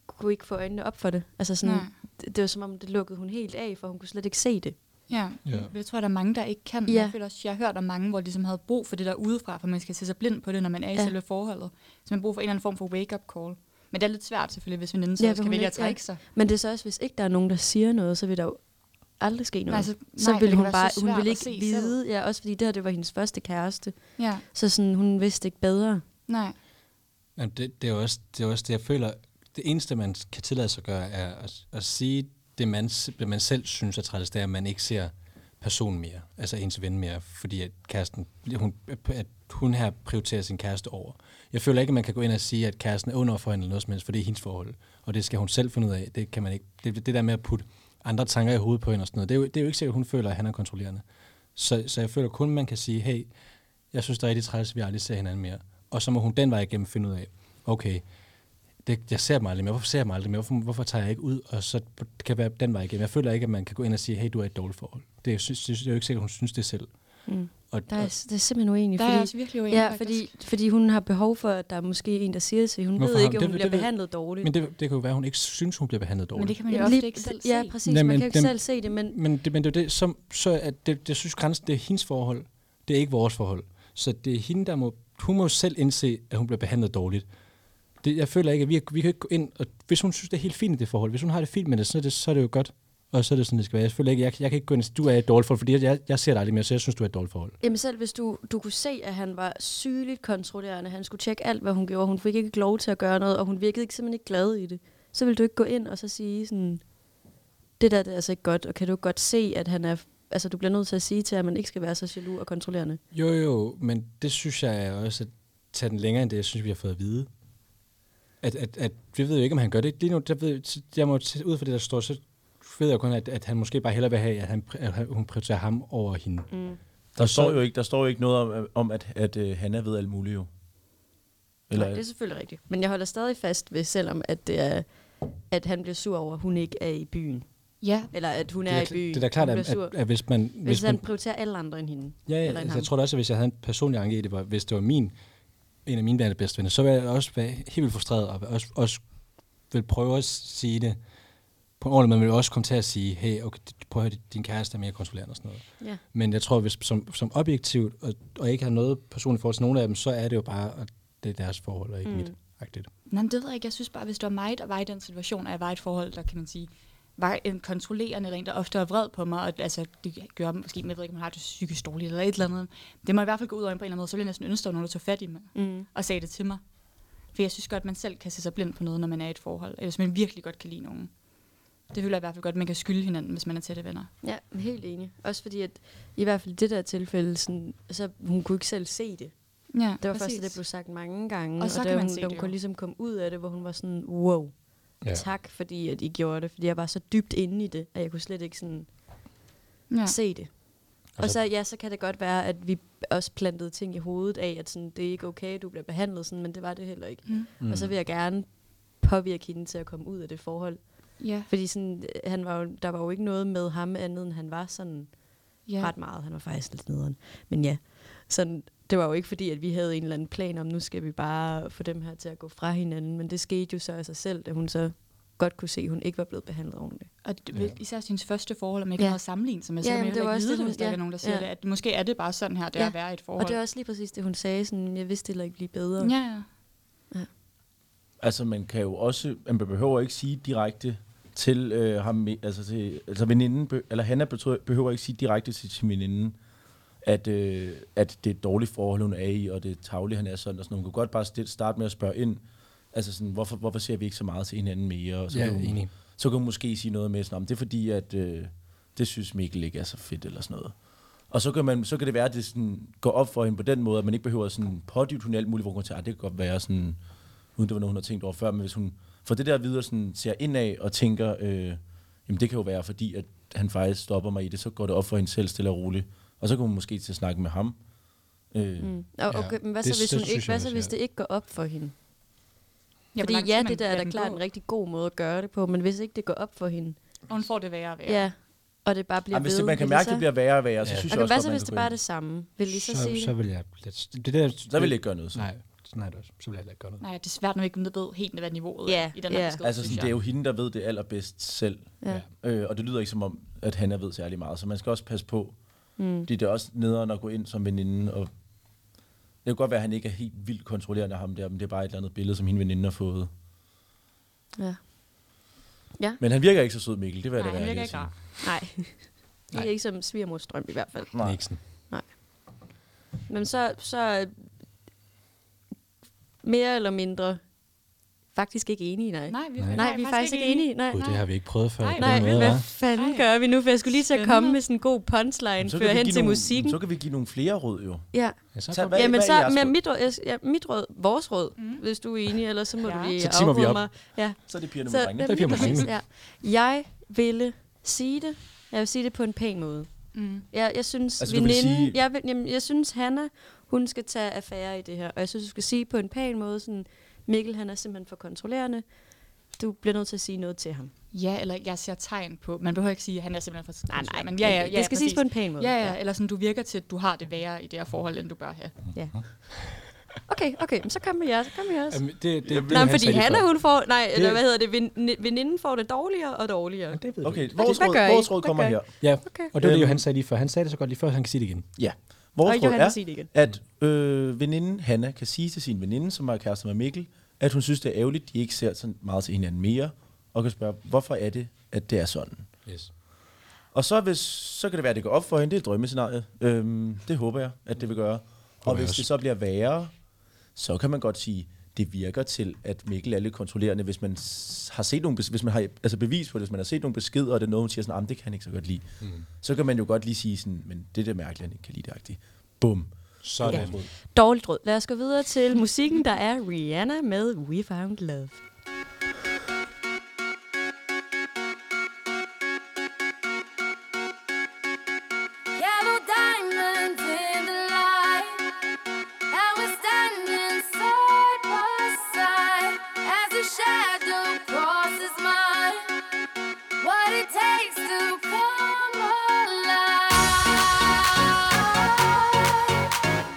kunne ikke få øjnene op for det. Altså sådan, Nej. det, det var som om, det lukkede hun helt af, for hun kunne slet ikke se det. Ja, Ja. ja. det tror jeg, der er mange, der ikke kan. Ja. Ja. Jeg føler også, jeg har hørt om mange, hvor de ligesom havde brug for det der udefra, for man skal se sig blind på det, når man er i Ja. ja. selve forholdet. Så man har brug for en eller anden form for wake-up call. Men det er lidt svært selvfølgelig, hvis veninden Ja, så for ja, hun skal vælge at ikke- ja. trække sig. Men det er så også, hvis ikke der er nogen, der siger noget, så vil der jo aldrig ske noget. Nej, så- så nej, for det vil kan hun være bare, så hun svært vil at ikke se vide, ja, også fordi det her, det var hendes første kæreste, Ja, så sådan, hun vidste ikke bedre. nej. Jamen, det, det, er jo også, det er jo også det, jeg føler, det eneste, man kan tillade sig at gøre, er at, at sige det, man, s- det, man selv synes er træls, det er, at man ikke ser personen mere, altså ens ven mere, fordi at kæresten, hun, at hun her prioriterer sin kæreste over. Jeg føler ikke, at man kan gå ind og sige, at kæresten er under for hende eller noget som helst, for det er hendes forhold, og det skal hun selv finde ud af. Det kan man ikke. Det, det der med at putte andre tanker i hovedet på hende og sådan noget, det er jo, det er jo ikke sikkert, at hun føler, at han er kontrollerende. Så, så jeg føler kun, man kan sige, hey, jeg synes, det er rigtig træls, at vi aldrig ser hinanden mere. Og så må hun den vej igennem finde ud af, okay, det, jeg ser dem aldrig mere, hvorfor ser jeg dem aldrig mere, hvorfor, hvorfor tager jeg ikke ud, og så på- det kan være den vej igennem. Jeg føler ikke, at man kan gå ind og sige, hey, du er i et dårligt forhold. Det, er- synes, det, er- det er jo ikke sikkert, hun synes det selv. Mm. Og, Der er, det er simpelthen uenig. Der er fordi, jeg også virkelig uenig, ja, faktisk. fordi, fordi hun har behov for, at der er måske en, der siger det til. Hun Hvorfor ved har- ikke, om det- hun det bliver ved- behandlet dårligt. men det, det kan jo være, at hun ikke synes, hun bliver behandlet dårligt. Men det kan man jo Jamen, ofte lige- ikke selv Ja, se. præcis. Nej, man men kan jo ikke dem- selv se det, men Men det, men det er jo det, som, så at det, jeg synes, grænsen, det er hendes forhold. Det er ikke vores forhold. Så det er hende, der må, hun må jo selv indse, at hun bliver behandlet dårligt. Det, jeg føler ikke, at vi, vi kan ikke gå ind, og hvis hun synes, det er helt fint i det forhold, hvis hun har det fint med det, så er det, så er det jo godt. Og så er det sådan, det skal være. Jeg føler ikke, jeg, jeg kan ikke gå ind, og sige, du er i et dårligt forhold, fordi jeg, jeg, jeg ser dig aldrig mere, så jeg synes, du er i et dårligt forhold. Jamen selv hvis du, du kunne se, at han var sygeligt kontrollerende, han skulle tjekke alt, hvad hun gjorde, hun fik ikke lov til at gøre noget, og hun virkede ikke, simpelthen ikke glad i det, så ville du ikke gå ind og så sige sådan, det der det er altså ikke godt, og kan du godt se, at han er, altså du bliver nødt til at sige til, at man ikke skal være så jaloux og kontrollerende. Jo, jo, men det synes jeg er også at tage den længere end det, jeg synes, vi har fået at vide. At, at, at vi ved jo ikke, om han gør det. Lige nu, der ved, så jeg må t- ud fra det, der står, så ved jeg kun, at, at han måske bare hellere vil have, at, han, pri- at han- hun prioriterer ham over hende. Mm. Der står jo ikke, der står jo ikke noget om, om at, at uh, Hanna ved alt muligt jo. Eller, Nej, det er selvfølgelig rigtigt. Men jeg holder stadig fast ved, selvom at, det er, at han bliver sur over, at hun ikke er i byen. Ja, Eller at hun det, er, er, i byen. det er da klart, hun at, bliver sur. at, at, hvis man... Hvis, hvis, man han prioriterer alle andre end hende. ja, ja, eller end altså, ham. jeg tror da også, at hvis jeg havde en personlig anke i det, var, hvis det var min, en af mine bedste bedstevenner, så ville jeg også være helt vildt frustreret, og også, også vil prøve at sige det på en ordentlig måde, men vil også komme til at sige, hey, okay, prøv at høre, din kæreste er mere kontrollerende og sådan noget. Ja. Men jeg tror, hvis som, som objektivt, og, og ikke har noget personligt forhold til nogen af dem, så er det jo bare, at det er deres forhold, og ikke mm. mit. Agtigt. Nej, men det ved jeg ikke. Jeg synes bare, hvis det var mig, der var i den situation, og jeg var i et forhold, der kan man sige, var en kontrollerende rent, der ofte var vred på mig, og altså, det gør dem måske, jeg ved ikke, om man har det psykisk dårligt eller et eller andet. Det må i hvert fald gå ud over en på en eller anden måde, så ville jeg næsten ønske, at der var nogen, der tog fat i mig mm. og sagde det til mig. For jeg synes godt, at man selv kan se sig blind på noget, når man er i et forhold, eller hvis man virkelig godt kan lide nogen. Det føler jeg i hvert fald godt, at man kan skylde hinanden, hvis man er tætte venner. Ja, helt enig. Også fordi, at i hvert fald i det der tilfælde, sådan, så hun kunne ikke selv se det. Ja, Det var først, at det blev sagt mange gange, Og så og da kan man hun, se da det hun jo. kunne ligesom komme ud af det, hvor hun var sådan, wow, ja. Ja. tak fordi, at I gjorde det, fordi jeg var så dybt inde i det, at jeg kunne slet ikke sådan ja. ja. se det. Og så, ja, så kan det godt være, at vi også plantede ting i hovedet af, at sådan, det er ikke okay, du bliver behandlet sådan, men det var det heller ikke. Mm. Og så vil jeg gerne påvirke hende til at komme ud af det forhold. ja. Fordi sådan, øh, han var jo, der var jo ikke noget med ham andet, end han var sådan ja. ret meget. Han var faktisk lidt nederen. Men ja, sådan, det var jo ikke fordi, at vi havde en eller anden plan om, nu skal vi bare få dem her til at gå fra hinanden. Men det skete jo så af sig selv, da hun så godt kunne se, at hun ikke var blevet behandlet ordentligt. Og d- ja. især til hendes første forhold, om ikke Ja. ja. noget at sammenligne sig med, Ja, så ja, jamen, man det jo var ikke også vide det, det, hun- hvis der ja, ikke er nogen, der siger ja. det. At måske er det bare sådan her, det Ja, er at være i et forhold. Og det var også lige præcis det, hun sagde, sådan, jeg vidste det heller ikke blive bedre. Ja, ja. altså, man kan jo også, man behøver ikke sige direkte til øh, ham, altså til, altså veninden, be- eller Hanna betø- behøver ikke sige direkte til sin veninden, at, øh, at det er et dårligt forhold, hun er i, og det er tavligt, han er sådan, og sådan. Hun kan godt bare stille, starte med at spørge ind, altså sådan, hvorfor, hvorfor ser vi ikke så meget til hinanden mere? Og så, Ja, kan hun, enig. så kan hun måske sige noget med sådan, om det er fordi, at øh, det synes Mikkel ikke er så fedt, eller sådan noget. Og så kan, man, så kan det være, at det sådan, går op for hende på den måde, at man ikke behøver sådan pådybt hun i alt muligt, hvor hun tænker, "Ah, det kan godt være sådan, uden det var noget, hun har tænkt over før, men hvis hun får det der videre sådan, ser indad og tænker, øh, jamen det kan jo være, fordi at han faktisk stopper mig i det, så går det op for hende selv stille og roligt. Og så kan hun måske til at snakke med ham. Øh, mm. Og, Ja, okay, men hvad så, det- hvis, det hun ikke, synes jeg hvad så, også, hvis ja. det ikke går op for hende? hvor Fordi lang tid ja, man det der lader er da den klart gå. en rigtig god måde at gøre det på, men hvis ikke det går op for hende, Og hun får det værre og værre. ja, ja og det bare bliver Jamen, hvis ved, det, man kan vil I mærke, så- at det bliver værre og værre, så Ja. synes jeg Okay, også, hvad godt, så, man hvis kan det gå bare er ind. det samme? Vil I så, så, sige så det? vil jeg... Lidt, det der, Så vil jeg ikke gøre noget. Så. Nej, nej det også. Så vil jeg heller ikke gøre noget. Nej, det er svært, når vi ikke ved helt, hvad niveauet Ja, er i den her ja. besked. Altså, sådan, synes det er jeg. jo hende, der ved det allerbedst selv. Ja. Øh, og det lyder ikke som om, at han er ved særlig meget, så man skal også passe på. Mm. Fordi det er også nederen at gå ind som veninde. Og det kan godt være, at han ikke er helt vildt kontrollerende af ham der, men det er bare et eller andet billede, som hende veninde har fået. Ja. Ja, Men han virker ikke så sød, Mikkel. Det vil jeg da Nej, være han virker ærlig at ikke rar. sige. nej. Det er ikke som svigermors drøm i hvert fald. Nej. Nej. Nixon. Men så, så mere eller mindre faktisk ikke enige, nej. Nej, vi, Nej. nej vi er faktisk ikke enige. Nej, Gud, det har vi ikke prøvet før. Nej, på den nej, måde, hvad hva'? fanden Ej. gør vi nu? For jeg skulle lige til at komme Spændende. med sådan en god punchline, Men så føre kan vi hen give til nogle, musikken. Så kan vi give nogle flere råd, jo. Ja. Ja, så, Tag- så, Hvad- Jamen hvad er så jeres med råd? mit råd, jeg- ja, mit råd, vores råd, mm. hvis du er enig, eller så må ja. Ja. du lige Så timer vi afbryde op. mig. Ja. Så er det pigerne med Så, drengene. Det bliver lige man præcis, ja. Jeg ville sige det. Jeg vil sige det på en pæn måde. Mm. Jeg, jeg synes, altså, Altså, du vil veninde, sige... sige- jeg, vil, jamen, jeg synes, Hanna, hun skal tage affære i det her. Og jeg synes, du skal sige på en pæn måde, sådan, Mikkel, han er simpelthen for kontrollerende. Du bliver nødt til at sige noget til ham. Mhm. Ja, eller jeg ser tegn på... Man behøver ikke sige, at han er simpelthen for Nej, nej. Men ja, ja, ja, det skal præcis. siges på en pæn måde. Ja, ja, eller sådan, du virker til, at du har det værre i det her forhold, end du bør have. ja. Okay, okay, men så kom med jer, så kom med jer også. Jamen, det, det, det, Nej, fordi Hanna, hun får, nej, Det- eller hvad hedder det, ven- veninden får det dårligere og dårligere. Det ved Okay, vores hvad råd, gør I? vores råd Hvad kommer gør I? her. Ja, Okay. og det Øhm. var det, jo, han sagde lige før. Han sagde det så godt lige før, så han kan sige det igen. Ja. Og Vores råd Johanna er, siger det igen. at øh, veninden Hanna kan sige til sin veninde, som er kærester med Mikkel, at hun synes, det er ærgerligt, de ikke ser så meget til hinanden mere, og kan spørge, hvorfor er det, at det er sådan? Yes. Og så, hvis, så kan det være, at det går op for hende. Det er drømmescenariet. Øhm, det håber jeg, at det vil gøre. Og jeg hvis også. det så bliver værre, så kan man godt sige, det virker til, at Mikkel er lidt kontrollerende, hvis man s- har set nogle, bes- hvis man har altså bevis på det, hvis man har set nogle beskeder, og det er noget, hun siger sådan, "Jamen, det kan han ikke så godt lide. Mm. Så kan man jo godt lige sige sådan, men det der mærkeligt, han ikke kan lide det agtigt. Bum. Sådan. Ja. Dårligt råd. Lad os gå videre til musikken, der er Rihanna med We Found Love. Yellow diamonds in the light, and we're standing side by side as your shadow crosses mine. What it takes to come alive.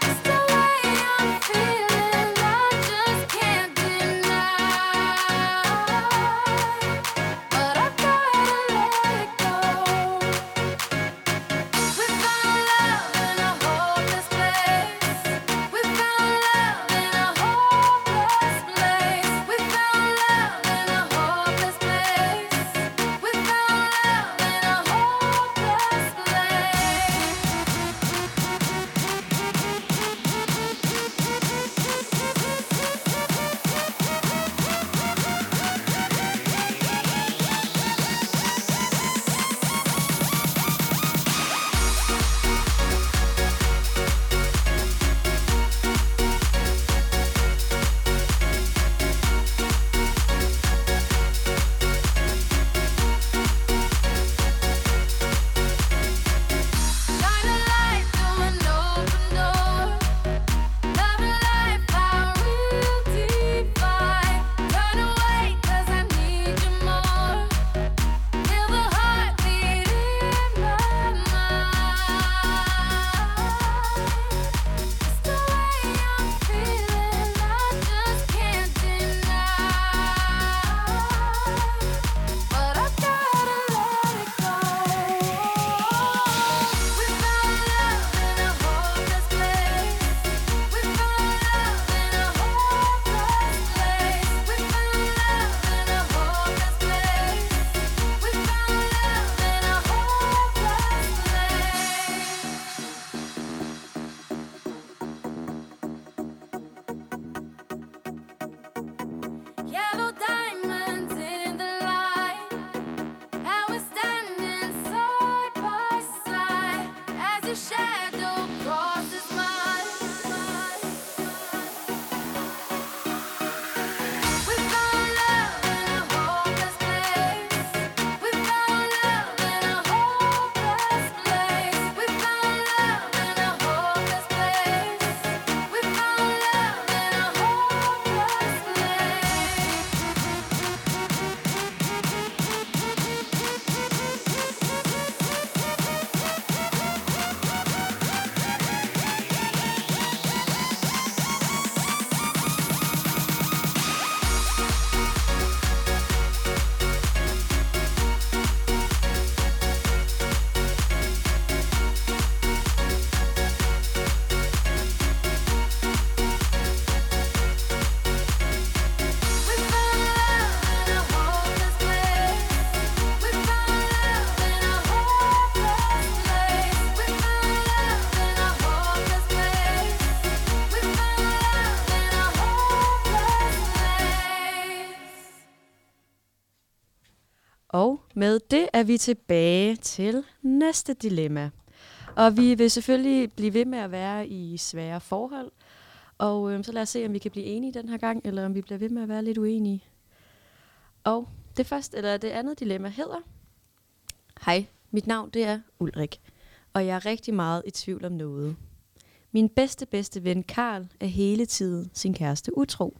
It's the way I'm feeling, I just can't deny. But I gotta let it go. We found love in a hopeless place. We found love in a hopeless place. We found love in a hopeless place. We found love in a hopeless place. Shine a light through an open door. Love and life, I will divide. Turn away 'cause I need you more. Feel the heartbeat in my mind. It's the way I'm feeling, I just can't deny. But I gotta let it go. We found love in a hopeless place. We found love in a hopeless place. We found love in a hopeless place. We found love in a hopeless place. Yellow diamonds in the light, and we're standing side by side as your shadow crosses mine. We found love in a hopeless place. We found love in a hopeless place. We found love in a hopeless place. We found love in a hopeless place. We found love in a hopeless place. We found love in a hopeless place. We found love in a hopeless place. We found love in a hopeless place. Og med det er vi tilbage til næste dilemma. Og vi vil selvfølgelig blive ved med at være i svære forhold. Og øhm, så lad os se, om vi kan blive enige den her gang, eller om vi bliver ved med at være lidt uenige. Og det første, eller det andet dilemma hedder... Hej, mit navn det er Ulrik, og jeg er rigtig meget i tvivl om noget. Min bedste, bedste ven Karl er hele tiden sin kæreste utro.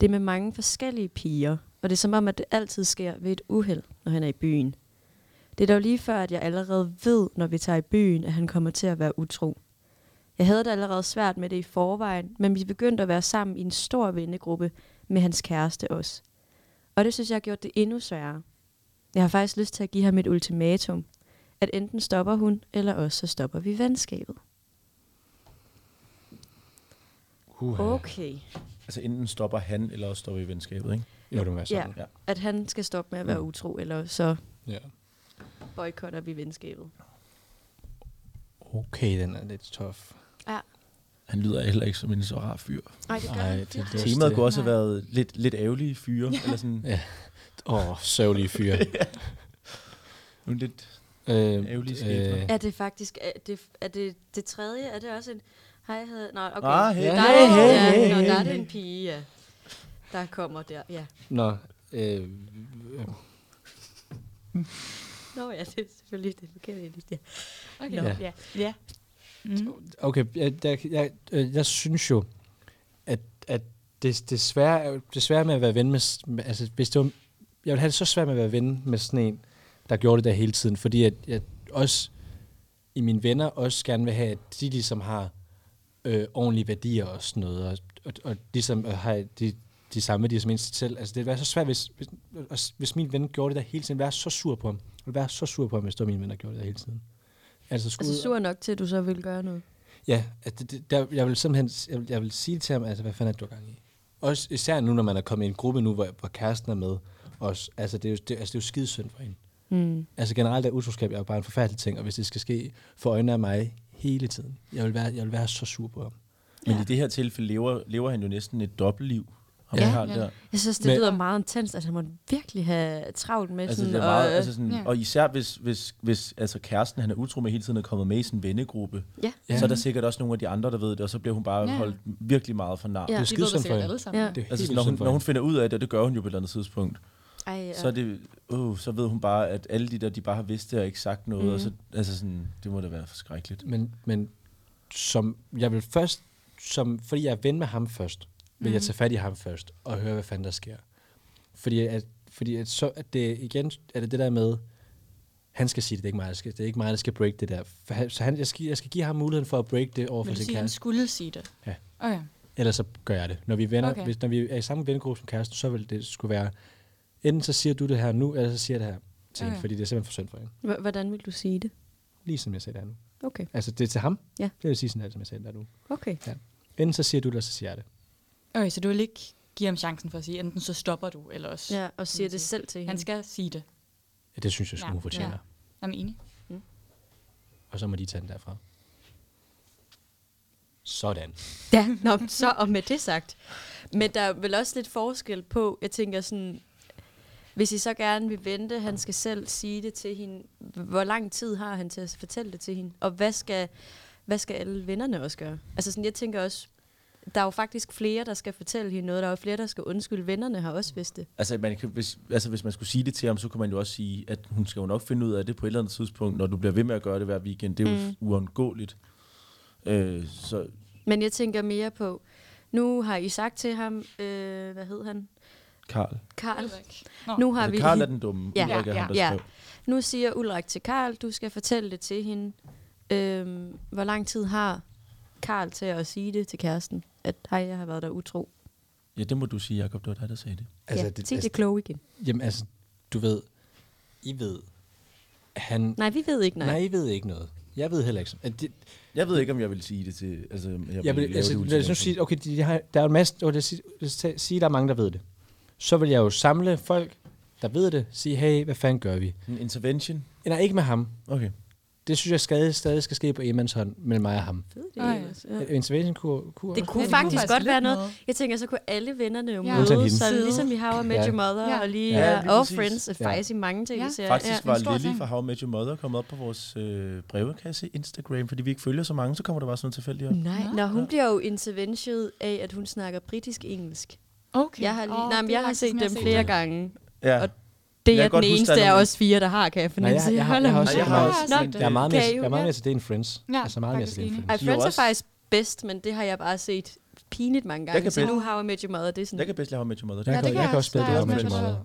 Det er med mange forskellige piger, og for det er som om, at det altid sker ved et uheld, når han er i byen. Det er dog lige før, at jeg allerede ved, når vi tager i byen, at han kommer til at være utro. Jeg havde det allerede svært med det i forvejen, men vi begyndte at være sammen i en stor vennegruppe med hans kæreste også. Og det synes jeg har gjort det endnu sværere. Jeg har faktisk lyst til at give ham et ultimatum, at enten stopper hun, eller også så stopper vi venskabet. Uh, Okay. Altså enten stopper han, eller også stopper i venskabet, ikke? Jo, det må være sådan. Ja. At han skal stoppe med at være utro, eller så Ja. boykotter vi venskabet. Okay, den er lidt tof. Han lyder heller ikke som en så rar fyr. Nej, det Ej, det, det Temaet kunne også have Nej. været lidt, lidt ærgerlige fyre, eller sådan Åh, oh, sørgelige fyre. nogle lidt... øh, Ærgerlige skæbner. Er det faktisk, er det, er det, det tredje, er det også en, hej, hedder, nå, okay. Ah, hey, der hey, er, hey, ja, hey, nå, hey, der er hey. det en pige, ja. Der kommer der, ja. Nå, øh, Nå ja, det er selvfølgelig det forkerte endelig, ja. Okay. Ja. Ja. ja. Mm. okay, jeg, jeg, jeg, øh, jeg synes jo, at, at det, det, svære, er jo- det svære med at være ven med, s- med altså hvis det var, jeg ville have det så svært med at være ven med sådan en, der gjorde det der hele tiden, fordi at jeg også i mine venner også gerne vil have, at de ligesom har øh, ordentlige værdier og sådan noget, og, og, og ligesom øh, har de, de samme værdier som en selv. Altså det ville være så svært, hvis, hvis, hvis, hvis min ven gjorde det der hele tiden, ville jeg være så sur på ham. Jeg ville være så sur på ham, hvis det var min ven, der gjorde det der hele tiden. Altså, skulle Altså sur nok til, at du så vil gøre noget. Ja, at det, det, der, jeg vil simpelthen jeg vil, jeg vil sige til ham, altså, hvad fanden er det, du har gang i? Også især nu, når man er kommet i en gruppe nu, hvor, hvor kæresten er med. Også, altså, det er jo, det, altså, det er jo skidesynd for hende. Mm. Altså generelt er utroskab jo bare en forfærdelig ting, og hvis det skal ske for øjnene af mig hele tiden, jeg vil være, jeg vil være så sur på ham. Men i det her tilfælde lever, lever han jo næsten et dobbeltliv. Ham, Ja. ja, har Ja. der. Jeg synes, det Men- lyder meget intenst, at han må virkelig have travlt med Altså, sådan, det er meget, og, altså sådan, ja. og især hvis, hvis, hvis altså kæresten, han er utro med hele tiden, er kommet med i sin vennegruppe, ja. ja. så er der sikkert også nogle af de andre, der ved det, og så bliver hun bare Ja. ja. holdt virkelig meget for nar. Ja. Det er jo De ved det skidesynd for sikkert hende. alle sammen. Ja. Det er jo Altså, helt når hun, synd for når hun hende. finder ud af det, og det gør hun jo på et eller andet tidspunkt, Ej, ja. så, er det, uh, så ved hun bare, at alle de der, de bare har vidst det og ikke sagt Mhm. noget. Mm. Og så, altså sådan, det må da være forskrækkeligt. Men, men som, jeg vil først, som, fordi jeg er ven med ham først, vil mm. Mhm. jeg tage fat i ham først og høre, hvad fanden der sker. Fordi, at, fordi at så, at det igen er det det der med, han skal sige det, det er ikke mig, der skal, det er ikke mig, der skal break det der. For han- Så han, jeg, skal, jeg skal give ham muligheden for at break det over for Vil du sin sige, at han kæreste. skulle sige det? Ja. Okay. Ellers så gør jeg det. Når vi, venner, Okay. okay. hvis, når vi er i samme vennegruppe som kæresten, så vil det skulle være, enten så siger du det her nu, eller så siger jeg det her til okay. Okay. hende, fordi det er simpelthen for synd for hende. H- hvordan vil du sige det? Lige som jeg sagde det her nu. Okay. Altså, det er til ham. Ja. Det vil sige sådan her, som jeg sagde det her nu. Okay. Enten så siger du det, eller så siger jeg det. okay, så du vil ikke give ham chancen for at sige, enten så stopper du, eller også. Ja, og siger det selv til hende. Han skal sige det. Ja, det synes jeg, Ja. skulle hun fortjener. Ja. Jeg er enig. Og så må de tage den derfra. Sådan. Ja, nå, men så og med det sagt. Men der er vel også lidt forskel på, jeg tænker sådan, hvis I så gerne vil vente, han skal selv sige det til hende, hvor lang tid har han til at fortælle det til hende? Og hvad skal, hvad skal alle vennerne også gøre? Altså sådan, jeg tænker også, der er jo faktisk flere, der skal fortælle hende noget. Der er jo flere, der skal undskylde. Vennerne har også vidst det. Altså, man kan, hvis, altså, hvis man skulle sige det til ham, så kunne man jo også sige, at hun skal jo nok finde ud af det på et eller andet tidspunkt, når du bliver ved med at gøre det hver weekend. Det er jo mm. uundgåeligt. Øh, så Men jeg tænker mere på, nu har I sagt til ham, øh, hvad hed han? Karl. Karl. Nå. Nu har vi Altså, Karl er den dumme. Ja. Ja, Ulrik er Ja, ham, der ja. ja. skrev. Nu siger Ulrik til Karl, du skal fortælle det til hende. Øhm, hvor lang tid har Karl til at sige det til kæresten, at hej, jeg har været der utro? Ja, det må du sige, Jacob. Det var dig, der sagde det. Altså, ja, det, sig det kloge igen. Jamen altså, du ved, I ved, han... Nej, vi ved ikke, nej. nej, I ved ikke noget. Jeg ved heller ikke. så- At det, Jeg ved ikke, om jeg vil sige det til... Altså, jeg, jeg vil, altså, lad os nu sige, okay, de har, der er en masse, og lad os sige, lad os tage- sige, der er mange, der ved det. Så vil jeg jo samle folk, der ved det, sige, hey, hvad fanden gør vi? En intervention. Nej, ikke med ham. Okay. Det synes jeg stadig, stadig skal ske på Emans hånd, mellem mig og ham. Ved Ej, ja. det, altså, ja. Ja. Intervention kunne, kunne det også kunne det faktisk kunne godt faktisk være lidt noget. noget. Jeg tænker, så kunne alle vennerne jo Ja. ja. Undtagen mødes, hende. så Sidde. ligesom i How I Met Ja. Your Mother Ja. og lige Ja, ja, lige og præcis. Friends, Ja. faktisk i mange tv-serier. Faktisk en var stor Lily ting. fra How I Met Your Mother kommet op på vores øh, brevkasse Instagram, fordi vi ikke følger så mange, så kommer der bare sådan nogle tilfældige. Mm. Nej, Nå, hun bliver jo interventionet af, at hun snakker britisk-engelsk. Okay. Jeg har, lige, Åh, nej, men det er jeg har faktisk set sådan, dem jeg flere gange, Ja. Og- Det Jeg er den kan godt huske, eneste der er af nogle- os fire, der har, kan jeg Nej, jeg, fornemmelse. jeg, har, jeg har også, Nej, jeg har også set jeg er meget Kan mere, I jeg er jo- meget ja. mere til det end Friends. Ja, altså meget mere til faktisk det end enig. Friends. Ej, De er jo Friends er også- faktisk bedst, men det har jeg bare set pinligt mange gange. Jeg kan så bedst- nu har jeg med Your Mother, det er sådan... Jeg kan bedst lide How I Met Your Mother. Jeg, Ja, ja, det kan, kan jeg jeg kan også også. bedre Der det er her med også- meget.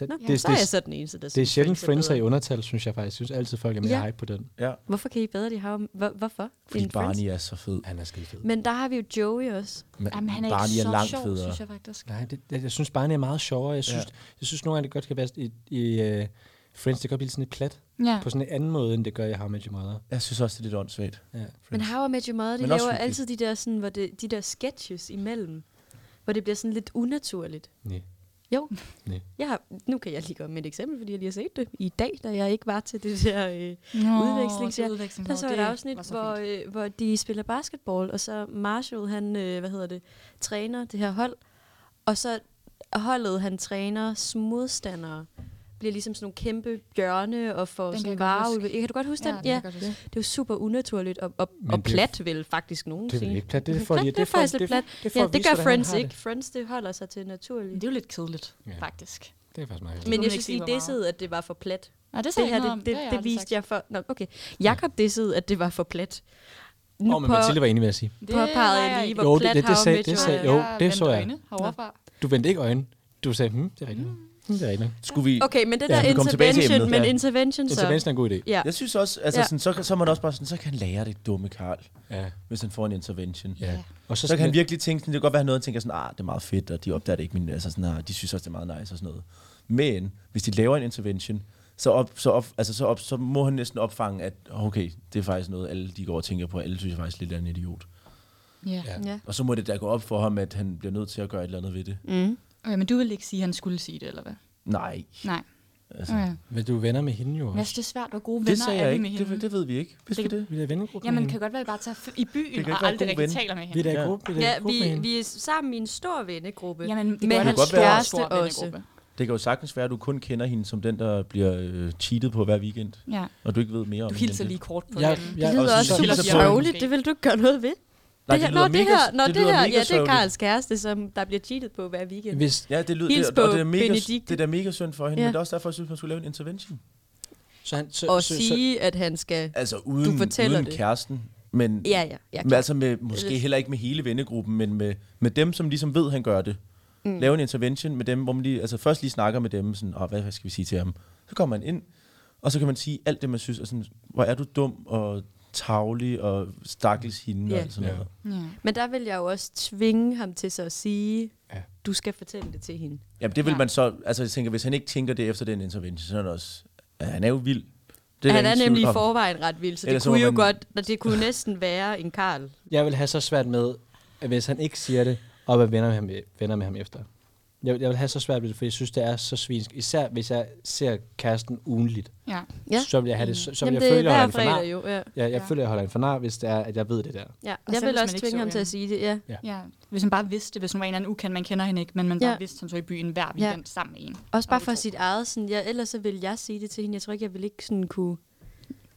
Det, Nå, det, det, så er jeg det, så den eneste, der det er synes, sjældent, Friends Friends er i bedre. undertal, synes jeg faktisk. Jeg synes altid, folk er mere Ja. hype på den. Ja. Hvorfor kan I bedre det? How- Hvor, hvorfor? Fordi end Friends? Barney er så fed. Han er skide fed. Men der har vi jo Joey også. Men Jamen, han er Barney ikke er så langt sjov, federe. synes jeg faktisk. Nej, det, jeg, jeg synes Barney er meget sjovere. Jeg synes, Ja. ja. jeg synes nogle gange, det godt kan være i, i uh, Friends, det kan godt blive sådan lidt plat. Ja. På sådan en anden måde, end det gør i How I Met Your Mother. Jeg synes også, det er lidt åndssvagt. Ja, Men Friends. How I Met Your Mother, de Men også laver hyggeligt. altid de der, sådan, hvor det, de der sketches imellem, hvor det bliver sådan lidt unaturligt. Nej. Jo, Nej. jeg har, nu kan jeg lige komme med et eksempel, fordi jeg lige har set det i dag, da jeg ikke var til det der øh, Nå, udveksling. det Der, udveksling. der Nå, så et det afsnit, var så hvor, fint. øh, hvor de spiller basketball, og så Marshall, han, øh, hvad hedder det, træner det her hold, og så holdet, han træner modstandere, bliver ligesom sådan nogle kæmpe bjørne og får Den kan sådan jeg godt vareulve. huske. Kan du godt huske Ja, den? den kan jeg godt huske. Det er jo super unaturligt og, og, Men og det er- plat vel faktisk nogen Det er vel ikke plat. Det, får, plat, de- det, er for- faktisk lidt plat. det, Ja, for at det vise, gør hvordan han Friends har det. ikke. Friends, det holder sig til naturligt. Det er jo lidt kedeligt, Ja. faktisk. Det er faktisk meget hyggeligt. Men kunne jeg man synes ikke lige, sige, hvor dissede, at det var for plat. Nej, det sagde Det jeg her, ikke noget om. det, det, har jeg det aldrig viste sagt. jeg for... Nå, okay. Jakob dissede, at det var for plat. Nu Åh, oh, men Mathilde var enig med at sige. Det påpegede var jeg jeg lige, ikke. Jo, hvor det- plat det- det har sagde- med det Joy. sagde- jo, det så jeg. Heroverfra. Du vendte ikke øjnene. Du sagde, hm, det er rigtigt. Hmm, det er rigtigt. Skulle vi... Okay, men det Ja, der vi kommer tilbage til intervention, emnet. men Ja. intervention så... Intervention er en god idé. Ja, Jeg synes også, altså, Ja. ja. sådan, så, kan- så er man også bare sådan, så kan han lære det dumme Karl, Ja. hvis han får en intervention. ja. Og Så, så kan han virkelig tænke sådan, det kan godt være, at han noget, han tænker sådan, ah, det er meget fedt, og de opdager det ikke, men altså sådan, ah, de synes også, det er meget nice og sådan noget. Men hvis de laver en intervention, så, op, så, op, altså, så, op, så må han næsten opfange, at okay, det er faktisk noget, alle de går og tænker på, og alle synes jeg faktisk lidt er en idiot. Ja. Ja. ja. Og så må det da gå op for ham, at han bliver nødt til at gøre et eller andet ved det. Mm. Okay, men du ville ikke sige, at han skulle sige det, eller hvad? Nej. Nej. Altså, Okay. Men du er venner med hende jo Men Jeg også. synes, det er svært, hvor gode Det venner sagde er jeg vi med ikke. hende. Det, det ved vi ikke. Vidste vi det? Vi er da vennegruppe Jamen, med hende. kan godt være, at I bare tager f- i Det byen kan og ikke være god aldrig rigtig ven. taler med Vi er hende. da i Ja. gruppe. Vi er da ja i gruppe vi, med hende. vi er sammen i en stor vennegruppe. Jamen, det med kan hans godt være. kæreste Stor også. vennegruppe. Det kan jo sagtens være, at du kun kender hende som den, der bliver øh, cheatet på hver weekend, Ja. og du ikke ved mere om Du hende hilser end det. lige kort på Ja, hinanden. ja, Det lyder og også så- super så- sørgeligt, det vil du ikke gøre noget ved. Nej, det her, lyder nå, det mega- her, nå, det, lyder her, mega ja, det er sørgeligt. Karls kæreste, som der bliver cheatet på hver weekend. Hvis, Ja, det lyder, Hils det, og på det er, mega, Benedikte. det er da mega synd for hende, Ja. ja. men det er også derfor, jeg synes, man skulle lave en intervention. så han, så, Og så, sige, at han skal... Altså uden, fortæller uden det. kæresten, men, Ja, ja, ja. men altså med, måske Lidt. heller ikke med hele vennegruppen, men med, med dem, som ligesom ved, han gør det. Mm. Lave en intervention med dem, hvor man lige, altså først lige snakker med dem, sådan, Åh, hvad skal vi sige til ham? Så kommer man ind, og så kan man sige alt det, man synes, og sådan, hvor er du dum og tavlig og stakkels hende Ja. og alt sådan Ja. noget. Ja. Men der vil jeg jo også tvinge ham til så at sige, Ja. du skal fortælle det til hende. Jamen det vil Ja. ja. man så, altså jeg tænker, hvis han ikke tænker det efter den intervention, så er det også, ja, han er jo vild. Det Det der han er ingen tvivl nemlig i om. forvejen ret vild, så det Ellers så kunne må jo man- godt, og det kunne næsten være en Karl. Jeg vil have så svært med, at hvis han ikke siger det, og være venner med ham, venner med ham efter. Jeg, vil- jeg vil have så svært ved det, for jeg synes, det er så svinsk. Især hvis jeg ser kæresten ugenligt. ja. Ja. Så vil jeg have det, så, så Jamen, vil jeg det er føle, at jeg hver holder en for fredag nar. jo. Ja. Ja, jeg Ja. føler, at jeg holder en for nar, hvis det er, at jeg ved det der. Ja. Og Jeg selv vil hvis også man ikke tvinge så ham til at hende. sige det, ja. ja. Hvis hun bare vidste det, hvis hun var en eller anden ukendt, man kender hende ikke, men man bare Ja. vidste, han så i byen hver weekend sammen med en. Også Og bare vi for to. sit eget, sådan, ja, ellers så vil jeg sige det til hende. Jeg tror ikke, jeg vil ikke sådan kunne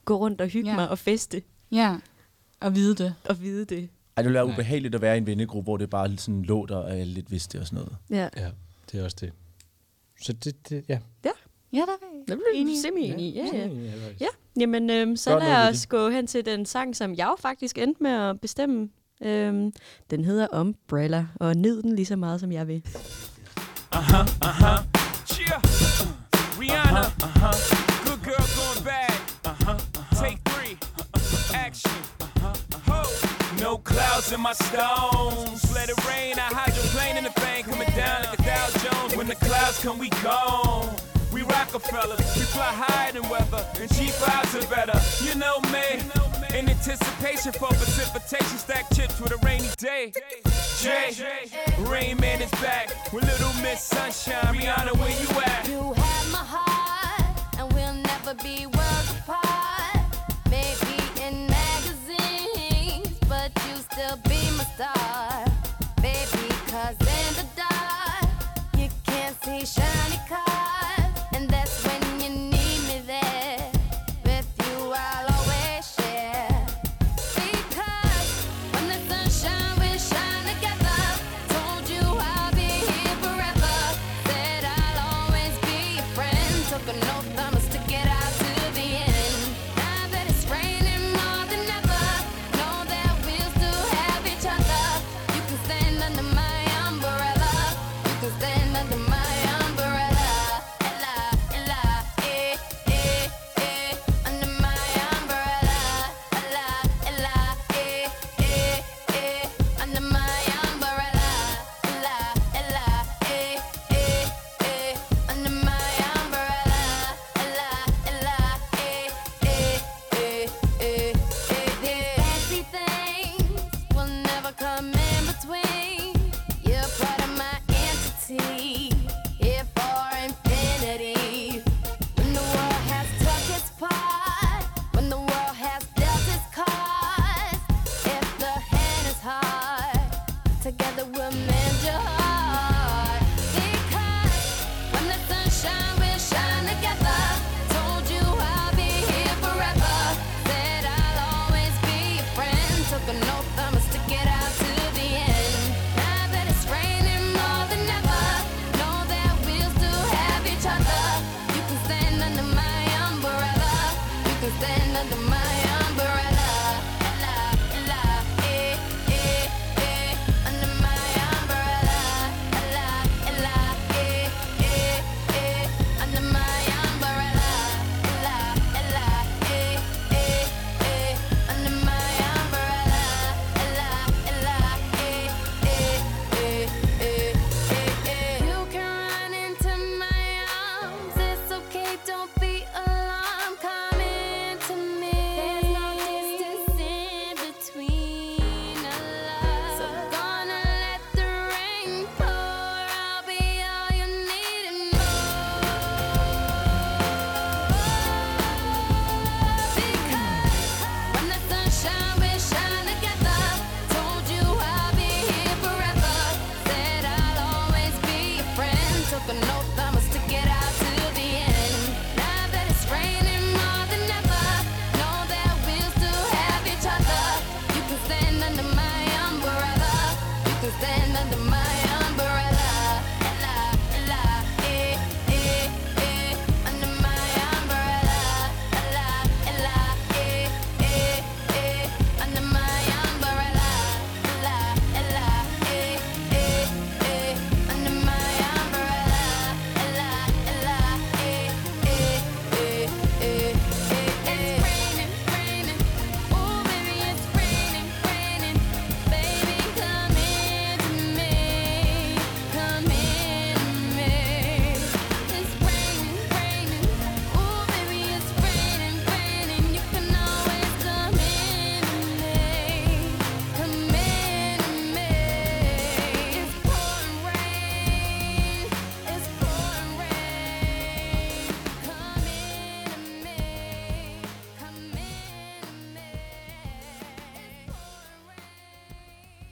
gå rundt og hygge Ja. mig og feste Ja, og vide det. og vide det. Ej, det ville være ubehageligt at være i en vennegruppe, hvor det bare sådan lå der, og jeg lidt vidste det og sådan noget. Ja, Ja, det er også det. Så det, det ja. Ja, der det er blev enig. vi semi-enige i. Ja, ja. ja. Ja, jamen øhm, så Gør lad noget ved os gå hen til den sang, som jeg jo faktisk endte med at bestemme. Øhm, den hedder Umbrella, og ned den lige så meget, som jeg vil. Cheer. Rihanna. Good girl going bad. Uh-huh, Take 3 Action. Ho. Uh-huh. No clouds in my stones. Let it rain. I hydroplane in the bank. Coming down like a Dow Jones. When the clouds come, we gone. We Rockefellers. We fly higher than weather. And G5s are better. You know me. In anticipation for precipitation. Stack chips with a rainy day. Jay. Rain Man is back. With Little Miss Sunshine. Rihanna, where you at? You have my heart, and we'll never be worlds apart. Maybe in magazines, but you still be my star. Baby, 'cause in the dark, you can't see shiny cars, and that's when you need me there. With you, I'll always share. Because when the sunshine will shine together, told you I'll be here forever. Said I'll always be your friend. Took an oath I'ma stick it out to the end. Now that it's raining more than ever, know that we'll still have each other. You can eh. stand under my umbrella. You can stand under my umbrella. La, la, eh, eh, eh. Under my umbrella. La, la, eh, eh, eh. Under my umbrella. La, la, eh, eh, eh. Under my umbrella. La, la, eh, eh, eh, eh, eh, eh. You can run into my arms. It's okay, don't be alarmed. Come into me. There's no distance in between us. So gonna let the rain pour. I'll be all you need and more. Because when the sunshine we shine together, told you I'll be here forever. Said I'll always be your friend. Took an oath I'ma stick it out till the end. Now that it's raining more than ever, know that we'll still have each other. You can stand under my umbrella. You can stand under my umbrella. La la eh eh eh under my umbrella. La la eh eh eh under my umbrella. La la eh eh eh under my umbrella. La la eh eh eh eh eh. It's raining, raining. Oh baby, it's raining, raining. Baby, come into me, come into me. It's raining, raining. Oh baby, it's raining, raining. You can always come into me, come into me. It's pouring rain, it's pouring rain. Come into me, come into me. It's pouring rain.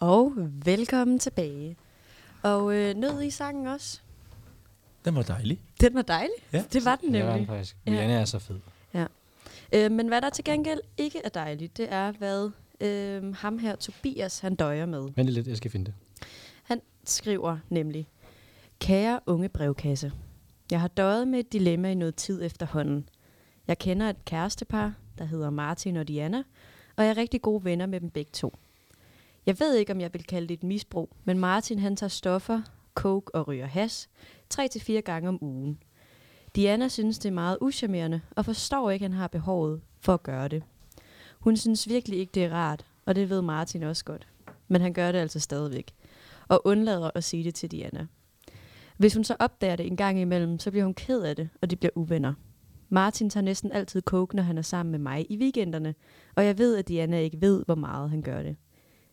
Og velkommen tilbage. Og øh, nød I sangen også? Den var dejlig. Den var dejlig. Ja. Det var den Det var den nemlig. faktisk. Ja. Rihanna er så fed. Øh, men hvad der til gengæld ikke er dejligt, det er, hvad øh, ham her, Tobias, han døjer med. Vent lidt, jeg skal finde det. Han skriver nemlig, Kære unge brevkasse, jeg har døjet med et dilemma i noget tid efterhånden. Jeg kender et kærestepar, der hedder Martin og Diana, og jeg er rigtig gode venner med dem begge to. Jeg ved ikke, om jeg vil kalde det et misbrug, men Martin han tager stoffer, coke og ryger has, tre til fire gange om ugen. Diana synes, det er meget uschammerende, og forstår ikke, at han har behovet for at gøre det. Hun synes virkelig ikke, det er rart, og det ved Martin også godt. Men han gør det altså stadigvæk og undlader at sige det til Diana. Hvis hun så opdager det en gang imellem, så bliver hun ked af det, og de bliver uvenner. Martin tager næsten altid coke, når han er sammen med mig i weekenderne, og jeg ved, at Diana ikke ved, hvor meget han gør det.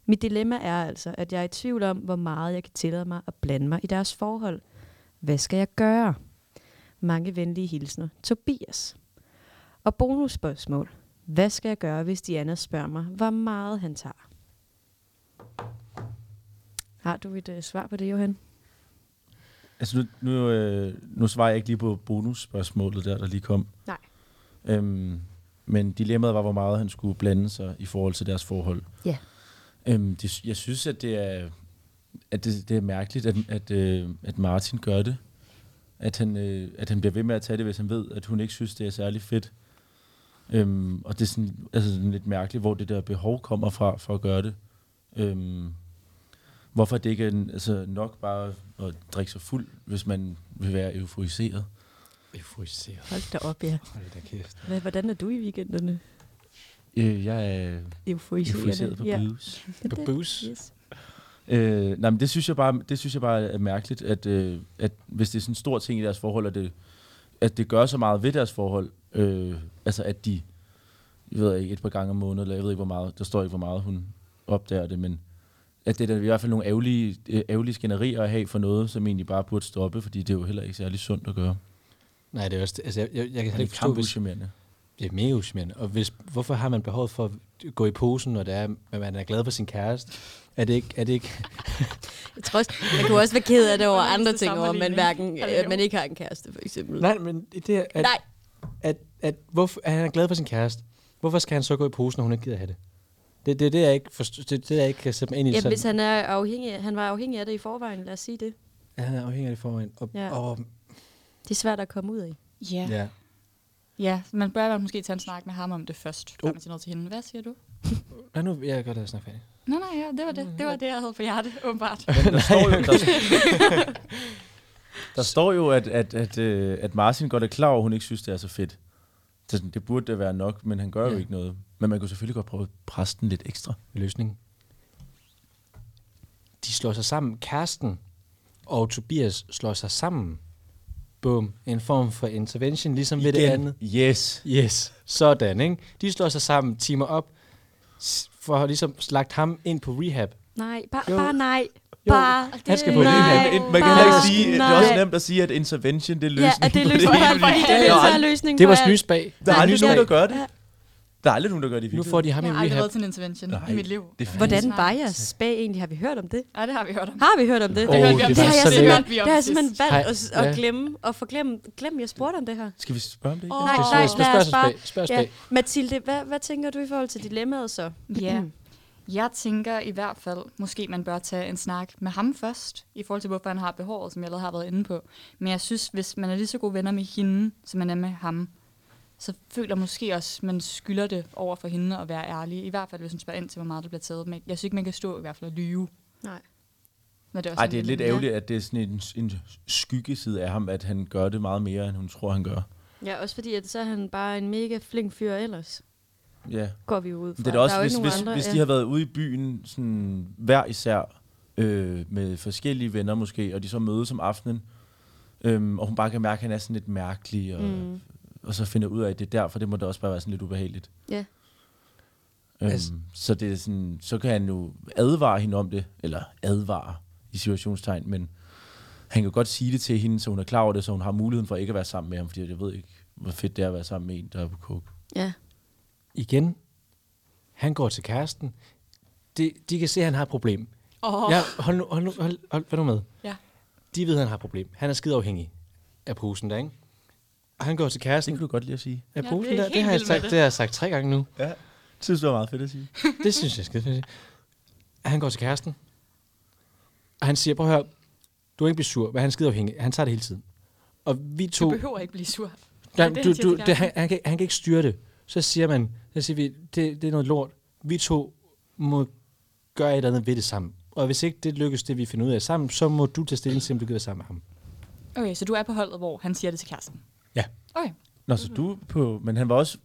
Mit dilemma er altså, at jeg er i tvivl om, hvor meget jeg kan tillade mig at blande mig i deres forhold. Hvad skal jeg gøre? Mange venlige hilsner. Tobias. Og bonusspørgsmål. Hvad skal jeg gøre, hvis Diana spørger mig, hvor meget han tager? Har du et øh, svar på det, Johan? Altså nu, nu, øh, nu svarer jeg ikke lige på bonusspørgsmålet der, der lige kom. Nej. Øhm, men dilemmaet var, hvor meget han skulle blande sig i forhold til deres forhold. Ja. Øhm, det, jeg synes, at det er, at det, det er mærkeligt, at, at, øh, at Martin gør det. At han, øh, at han bliver ved med at tage det, hvis han ved, at hun ikke synes, det er særlig fedt. Øhm, og det er sådan, altså sådan lidt mærkeligt, hvor det der behov kommer fra for at gøre det. Øhm, hvorfor det ikke er en- altså nok bare at drikke sig fuld, hvis man vil være euforiseret. Euforiseret. Hold da op, ja. Hold da kæft. Hvad, hvordan er du i weekenderne? Øh, jeg er euforiseret på ja. blues. På booze. Yes. Øh, nej, men det synes jeg bare, det synes jeg bare er mærkeligt, at, øh, at hvis det er sådan en stor ting i deres forhold, at det, at det gør så meget ved deres forhold, øh, altså at de, jeg ved ikke, et par gange om måneden, eller jeg ved ikke hvor meget, der står ikke hvor meget hun opdager det, men at det er da i hvert fald nogle ærgerlige, øh, ærgerlige skænderier at have for noget, som egentlig bare burde stoppe, fordi det er jo heller ikke særlig sundt at gøre. Nej, det er også det. Altså, jeg, jeg, jeg kan Det heller er ikke forstå, kamp hvis... uschammerende. Det er mega usmærende. Og hvis, hvorfor har man behov for at gå i posen, når det er, at man er glad for sin kæreste? Er det ikke, er det ikke Jeg tror også, jeg kunne også være ked af det over Hvordan andre til ting, over at man, sammenligning? hverken, Er det at man jo? ikke har en kæreste, for eksempel. Nej, men det er, at, Nej. At, at, hvorfor, at han er glad for sin kæreste. Hvorfor skal han så gå i posen, når hun ikke gider have det? Det er det, er det, jeg ikke forstår, det, er det, jeg ikke kan sætte mig ind i. Ja, sådan. hvis han, er afhængig, af- han var afhængig af det i forvejen, lad os sige det. Ja, han er afhængig af det forvejen. Og, Ja. ja. og, Det er svært at komme ud af. Ja. ja. ja, man bør vel måske tage en snak med ham om det først, før Oh. man siger noget til hende. Hvad siger du? Nå, nu vil jeg godt have snakket færdig. Nej, nej, ja, det var det. Det var det, jeg havde på hjertet, åbenbart. Men der, står jo, der, der står jo, at, at, at, øh, at Martin godt er klar over, at hun ikke synes, det er så fedt. Så sådan, det burde da være nok, men han gør ja. jo Ja. ikke noget. Men man kunne selvfølgelig godt prøve at presse den lidt ekstra. Løsning. De slår sig sammen. Kæresten og Tobias slår sig sammen. Bum. En form for intervention, ligesom ved det andet. Yes. Yes, sådan, ikke? De slår sig sammen, timer op, s- for at ligesom slagt ham ind på rehab. Nej, bare, Jo. bare nej. Jo, Bare han skal det- på nej, Man rehab. kan heller ikke bare sige, det er nej. også nemt at sige, at intervention, det er Ja, løsningen. at det er på løsningen for alt, fordi det er Ja, så løsningen Det var for alt. snys bag. Der er aldrig Snys nogen, der bag. gør det. Der er aldrig nogen, der gør det i Nu virkeligheden. får de ham i Jeg har aldrig rehab. været til en intervention Nej, i mit liv. Det er Hvordan Nej. var jeres spag egentlig? Har vi hørt om det? Ja, det har vi hørt om. Har vi hørt om det? Åh, hørte vi om det det, var har sidst. jeg så Det lækkert. hørte simpelthen, vi det om har jeg sidst. simpelthen valgt at, Hej. at Ja. glemme, og forglemme, glemme, jeg spurgte om det her. Skal vi spørge om det igen? Nej, Det er nej, spørg- lad os spørg- bare... spørg- spørg- Ja. spørg. Mathilde, hvad, hvad tænker du i forhold til dilemmaet så? Ja. Jeg tænker i hvert fald, måske man bør tage en snak med ham først, i forhold til, hvorfor han har behovet, som jeg allerede har været inde på. Men jeg synes, hvis man er lige så gode venner med hende, som man er med ham, så føler jeg måske også, at man skylder det over for hende at være ærlig. I hvert fald, hvis hun spørger ind til, hvor meget der bliver taget. Men jeg synes ikke, man kan stå i hvert fald og lyve. Nej. Når det, også Ej, er en det er lidt dilemma. ærgerligt, at det er sådan en, en skyggeside af ham, at han gør det meget mere, end hun tror, han gør. Ja, også fordi, at så er han bare en mega flink fyr ellers. Ja. Går vi jo ud fra. Men det er da Der også, jo hvis, ikke hvis, nogen andre, hvis ja. de har været ude i byen sådan, hver især øh, med forskellige venner måske, og de så mødes om aftenen, øhm, og hun bare kan mærke, at han er sådan lidt mærkelig, og, mm. og så finder ud af, at det er derfor, det må da også bare være sådan lidt ubehageligt. Ja. Øhm, Altså- Så, det er sådan, så kan han jo advare hende om det, eller advare i situationstegn, men han kan godt sige det til hende, så hun er klar over det, så hun har muligheden for ikke at være sammen med ham, fordi jeg ved ikke, hvor fedt det er at være sammen med en, der er på coke. Ja. Igen. Han går til kæresten. De, de kan se, at han har et problem. Åh, Ja, hold nu, hold nu, hold, hold, hold nu med. ja. De ved, at han har et problem. Han er skide afhængig af posen der, ikke? Og han går til Det kæresten. kan du godt lige at sige. Ja, det er posen der, helt det har, jeg vild med sagt, det. det har jeg sagt tre gange nu. Det synes, det var meget fedt at sige. Det synes jeg er skide fedt. Han går til kæresten, og han siger, prøv at høre, du er ikke blive sur, men han er skide afhængig. Han tager det hele tiden. Og vi Du to... behøver ikke blive sur. Nej, det, du, han siger til du, det, kæresten. han, han, kan, han kan ikke styre det. Så siger man, så siger vi, det, det er noget lort. Vi to må gøre et eller andet ved det sammen. Og hvis ikke det lykkes, det vi finder ud af sammen, så må du tage stilling til, om du gider være sammen med ham. Okay, så du er på holdet, hvor han siger det til kæresten. Ja. Okay. Nå, så du er på... Men han var også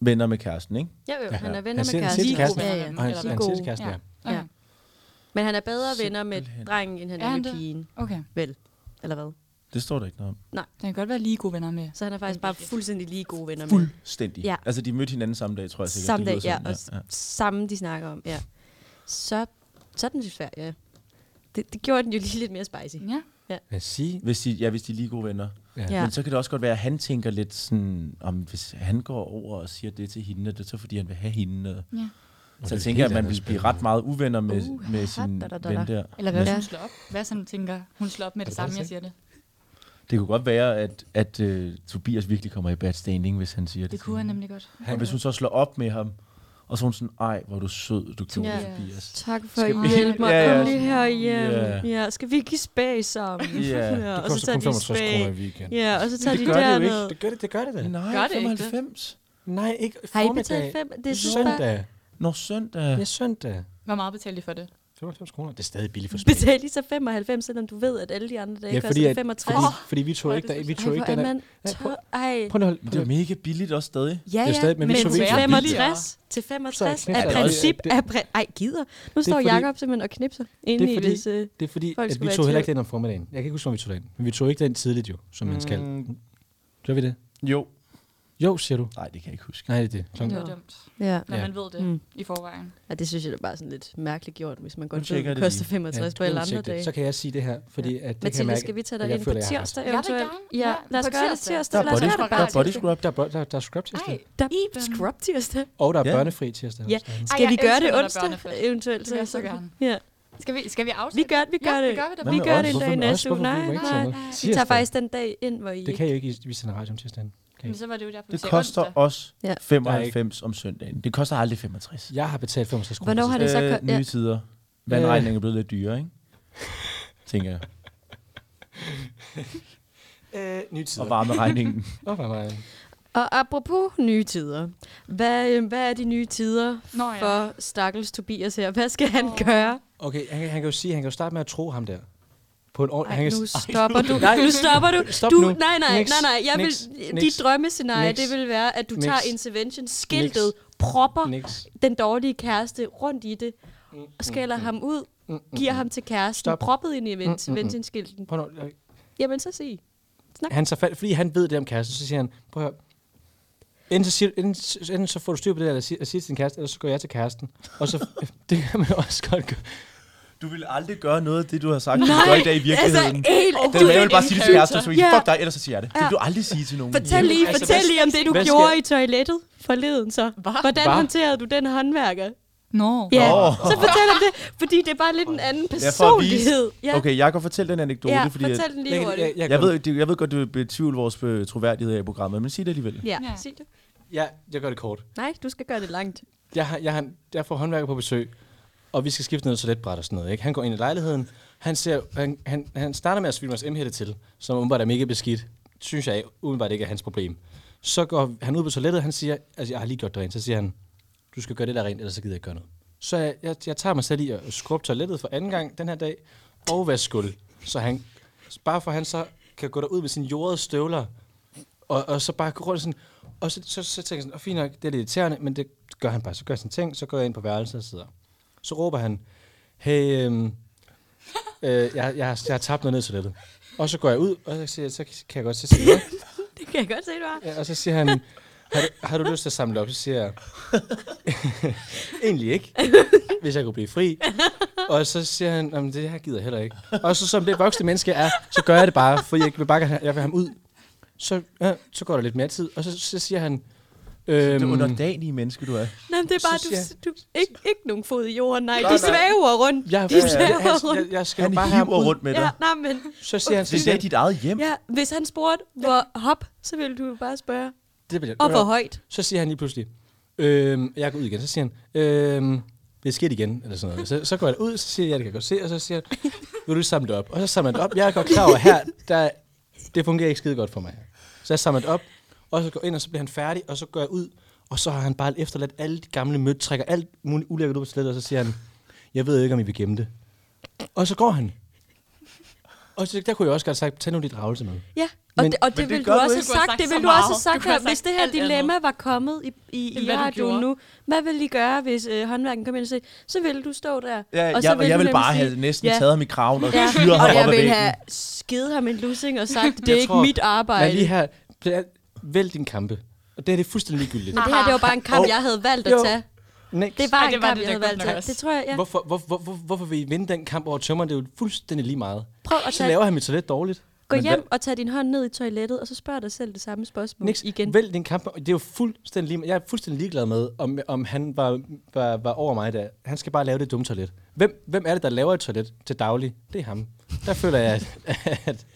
venner med kæresten, ikke? Ja, jo, Ja. han er venner Han siger- med han siger til kæresten. kæresten, Ja, ja. Og han, Eller han hvad? siger til kæresten, ja. Ja. Okay. Ja. Men han er bedre venner med drengen, end han Er er han med det? pigen. okay. Vel, eller hvad? Det står der ikke noget om. Den kan godt være lige gode venner med. Så han er faktisk bare fuldstændig lige gode venner med. Fuldstændig. Ja. Altså, de mødte hinanden samme dag, tror jeg sikkert. Samme Det dag, lyder ja, sådan, og ja, samme de snakker om, ja. Så, så er den lidt svær, ja. Det, det gjorde den jo lige lidt mere spicy. Ja. Lad os sige, Hvis de, ja, hvis de er lige gode venner. Ja. Ja. Men så kan det også godt være, at han tænker lidt sådan, om hvis han går over og siger det til hende, er det er så fordi, han vil have hende. Og ja. så er jeg tænker jeg, helt at man andet vil blive ret meget uvenner med, Uh, med sin da, da, da, ven da. der. Eller hvad, Men hvis hun slår op? Hvad sådan tænker, hun slår op med det, det samme, faktisk jeg siger det? Det kunne godt være, at, at uh, Tobias virkelig kommer i bad standing, hvis han siger det. Det til kunne han hende. nemlig godt. Og hvis hun så slår op med ham, og så er hun sådan, ej, hvor er du sød, du gjorde Ja. det, Tobias. Tak for Skal at vi- hjælpe mig. Ja, Ja, ja. Kom lige her hjem. Ja. Yeah. Ja, skal vi ikke i spag sammen? Ja. ja det og så koster tager kun de i 65 kroner i spag. weekenden. Ja, og så tager de gør det jo ikke. derned. Det gør det, det gør det da. Nej, Gør det ikke det? 95. Nej, ikke Har I formiddag. betalt fem? Det er søndag. søndag. Når søndag. Ja, søndag. Hvor meget betalte de for det? 95 kroner. Det er stadig billigt for spil. Betaler de så 95, selvom du ved, at alle de andre dage Ja, ja, fordi koster at- 65? Fordi, fordi vi tog ikke, der, vi tog Ej, ikke hvor den er der. man Ja, prøv- tør. Ej. Prøv nu at holde. Det er mega billigt også stadig. Ja, Det er ja, stadig- men, men vi men så til ikke- Det er 65, til 65 Så er er knæfter. princip Det- af... Pri- Ej, gider. Nu står fordi- Jakob simpelthen og knipser inde Det er i, fordi- hvis... Øh, Det er fordi, Folk at skulle vi være i tog heller ikke tvivl. den om formiddagen. Jeg kan ikke huske, om vi tog den. Men vi tog ikke den tidligt jo, som man skal. Mm, Gør vi det? jo. Jo, siger du. Nej, det kan jeg ikke huske. Nej, det er det. Klokken. Det Ja. var dumt, ja. når Ja. man ved det Mm. i forvejen. ja, det synes jeg da bare er sådan lidt mærkeligt gjort, hvis man godt ved, tjekker at det det koster 65 på alle Uanset andre det, dage. Så kan jeg sige det her, fordi at det kan jeg Mathilde, mærke. skal vi tage at dig jeg ind på føler, jeg har ret. tirsdag Jeg vil eventuelt? gerne. Ja, Ja, lad os på gøre det tirsdag. tirsdag. Der er Lad os body, gøre det der er bare body tirsdag. scrub. Der er, bro- der, der er scrub tirsdag. Der er Iben. scrub tirsdag. Og der er Ja. børnefri tirsdag. Ja. også. Ej, Skal jeg vi gøre elsker, det når der er onsdag børnefest. eventuelt? Det vil jeg så gerne. Ja, Skal vi, skal vi vi afslutte? gør, vi gør ja, det. vi gør vi da. Hvad Vi med gør os? det en dag Hvorfor i med os? næste uge. Hvorfor Nej, vil du ikke nej, tage med? nej. Vi Tirsdag. tager faktisk den dag ind, hvor I Det ikke... kan jeg jo ikke, vi sender radio om tirsdagen. Men så var det jo derfor, vi Det sagde koster onsdag. os Ja. 95 om søndagen. Det koster aldrig 65. Jeg har betalt 65 kroner. Hvornår til har det så... Øh, ko- nye ja. tider. Vandregningen er blevet lidt dyrere, ikke? Tænker jeg. sidst. Øh, nye tider. Og varmeregningen. Nå, var mig. Og apropos nye tider. Hvad, øh, hvad er de nye tider Nå ja. for stakkels Tobias her? Hvad skal han gøre? Okay, han, han kan jo sige, han kan jo starte med at tro ham der. På en ordentlig... Ej, han kan nu s- Ej, stopper du. Nej, Nu stopper du. Stop du nu. Nej, nej, Niks. nej, nej. Jeg vil, Niks. Niks. dit drømmescenarie, Niks. det vil være, at du Niks. tager intervention-skiltet, propper Niks. den dårlige kæreste rundt i det, Mm, og skælder ham ud, giver ham til kæresten, Stop. Mm, proppet ind i intervention-skilten. Prøv nu, øh, Jamen, så sig. han tager fat, fordi han ved det om kæresten, så siger han, prøv at høre. Enten så, siger, enten, enten så får du styr på det, eller siger, siger til din kæreste, eller så går jeg til kæresten. Og så, det kan man også godt gøre. Du vil aldrig gøre noget af det, du har sagt, du gør i dag i virkeligheden. altså, helt... det vil jeg vil bare sige det til kæresten, så Ja. yeah. fuck dig, ellers så siger jeg det. Det Ja. vil du aldrig sige til nogen. Fortæl lige, altså, fortæl hvad- lige om det, du hvad skal- gjorde i toilettet forleden så. Hvordan Hva? håndterede du den håndværker? Nå, Ja, Nå. så fortæl om det, fordi det er bare lidt en anden Ja, for at vise- personlighed. Ja, Okay, jeg kan fortælle den anekdote, ja fordi at- fortæl den lige Jeg, hurtigt. jeg, jeg, jeg, ved, det- jeg ved godt, du vil betvivle vores øh, troværdighed her i programmet, men sig det alligevel. Ja, Ja. sig det. jeg, jeg gør det kort. Nej, du skal gøre det langt. jeg, har, jeg, har, jeg får håndværker på besøg, og vi skal skifte noget toiletbræt og sådan noget. Ikke? Han går ind i lejligheden, han, ser, han, han, han starter med at svine vores emhætte til, som umiddelbart er mega beskidt. Synes jeg umiddelbart ikke er hans problem. Så går han ud på toilettet, han siger, altså jeg har lige gjort det rent, så siger han, du skal gøre det der rent, ellers så gider jeg ikke gøre noget. Så jeg, jeg, jeg tager mig selv i at skrubbe toilettet for anden gang den her dag, og vaske gulv. Så han, bare for at han så kan gå derud med sine jordede støvler, og, og så bare gå rundt sådan, og så, så, så tænker jeg sådan, oh, fint nok, det er lidt irriterende, men det gør han bare. Så gør jeg sin ting, så går jeg ind på værelset og sidder. Så råber han, hey, øhm, øh, jeg, jeg, jeg, har tabt noget ned til toilettet. Og så går jeg ud, og så, siger, jeg, så kan jeg godt så sige, "Nå." Det kan jeg godt se, du har. ja, og så siger han, har du, har du lyst til at samle op? Så siger jeg, egentlig ikke, hvis jeg kunne blive fri. Og så siger han, jamen det her gider jeg heller ikke. Og så som det voksne menneske jeg er, så gør jeg det bare, for jeg vil bare gerne- jeg vil have ham ud. Så, ja, så går der lidt mere tid, og så, så siger han, øhm, Det underdanige menneske, du er. Nej, men det er bare, Så du, siger du ikke, ikke nogen fod i jorden, nej. De svæver rundt. jeg, De jeg, svæver jeg, rundt. jeg, jeg skal Han bare have ham hiver ud. rundt med Ja, dig. nej, men Så siger han, Det er i dag dit eget hjem. ja, hvis han spurgte, hvor hop, så ville du jo bare spørge, det bliver, og hvor højt. Så siger han lige pludselig, øhm, jeg går ud igen. Så siger han, øhm, det skete igen, eller sådan noget. Så, så går jeg ud, så siger jeg, det kan jeg godt se, og så siger han, vil du samle det op? Og så samler han det op. Jeg er godt klar over her, der, det fungerer ikke skide godt for mig. Så jeg samler det op, og så går jeg ind, og så bliver han færdig, og så går jeg ud, og så har han bare efterladt alle de gamle mødt, trækker alt muligt ulækkert ud på slettet, og så siger han, jeg ved ikke, om I vil gemme det. Og så går han. Og så, der kunne jeg også godt have sagt, tag nu dit ravelse med. Ja, og, Men- det, og det, det ville du gør du også ikke. have Du kunne sagt, have sagt det så ville du også have meget. sagt Du kunne her, have hvis sagt det her alt dilemma var kommet i, i, End i hvad du radioen gjorde. nu. Hvad ville I gøre, hvis øh, håndværken kom ind og sagde, så ville du stå der. Ja, og så jeg, jeg du ville nemlig bare sige, have næsten ja, taget ham i kraven og Ja, tyret ham og jeg op ad ville væggen. have skidt ham en lussing og sagt, det er Jeg ikke tror- mit arbejde. Men lige her, det er- vælg din kampe. Og det er det fuldstændig ligegyldigt. Men det her, det var bare en kamp, jeg havde valgt at Jo. tage. Next. Det var Ej, en det var kamp, jeg det da havde godt valgt at nok tage. også. Det tror jeg, ja. Hvorfor, hvor, hvor, hvor, hvorfor vil I vinde den kamp over tømmeren? Det er jo fuldstændig lige meget. Prøv at Så tage, laver han mit toilet dårligt. gå Men hjem og tag din hånd ned i toilettet, og så spørg dig selv det samme spørgsmål Niks, igen. vælg din kamp. Det er jo fuldstændig lige, jeg er fuldstændig ligeglad med, om, om han var, var, var over mig der. Han skal bare lave det dumme toilet. Hvem, hvem er det, der laver et toilet til daglig? Det er ham. Der føler jeg, at, at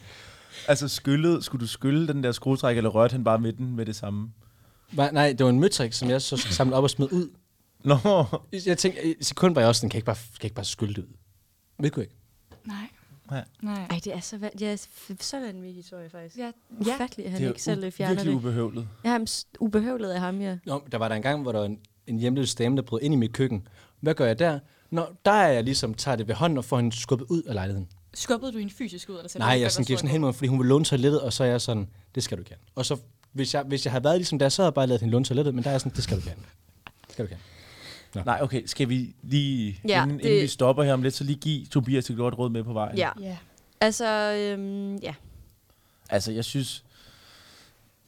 Altså, skyllet, skulle du skylle den der skruetræk, eller rørte han bare med den med det samme? nej, nej, det var en møtrik, som jeg så samlede op og smed ud. Nå, Jeg tænkte, i et sekund var jeg også sådan, kan jeg ikke bare, kan jeg ikke bare skylde det ud? Det kunne jeg ikke. nej. Ja. Nej. Ej, det er så, van- ja, f- så vanvittig historie, faktisk. Ja, Ufatteligt, at han ikke selv øh, fjerner virkelig det. ubehøvlet. Ja, men s- ubehøvlet af ham, ja. Nå, der var der en gang, hvor der var en, en hjemløs dame, der brød ind i mit køkken. Hvad gør jeg der? Nå, der er jeg ligesom, tager det ved hånden og får hende skubbet ud af lejligheden. Skubbede du en fysisk ud? Eller selv? Nej, jeg sådan, giver sådan hen mod, fordi hun vil låne toilettet, og så er jeg sådan, det skal du gerne. Og så, hvis jeg, hvis jeg havde været ligesom der, så havde jeg bare lavet hende låne toilettet, men der er jeg sådan, det skal du gerne. Det skal du gerne. Nej, okay, skal vi lige, ja, Ja, inden, det... det- inden vi stopper her om lidt, så lige give Tobias et godt råd med på vejen? Ja. Ja. Altså, øhm, ja. Altså, jeg synes...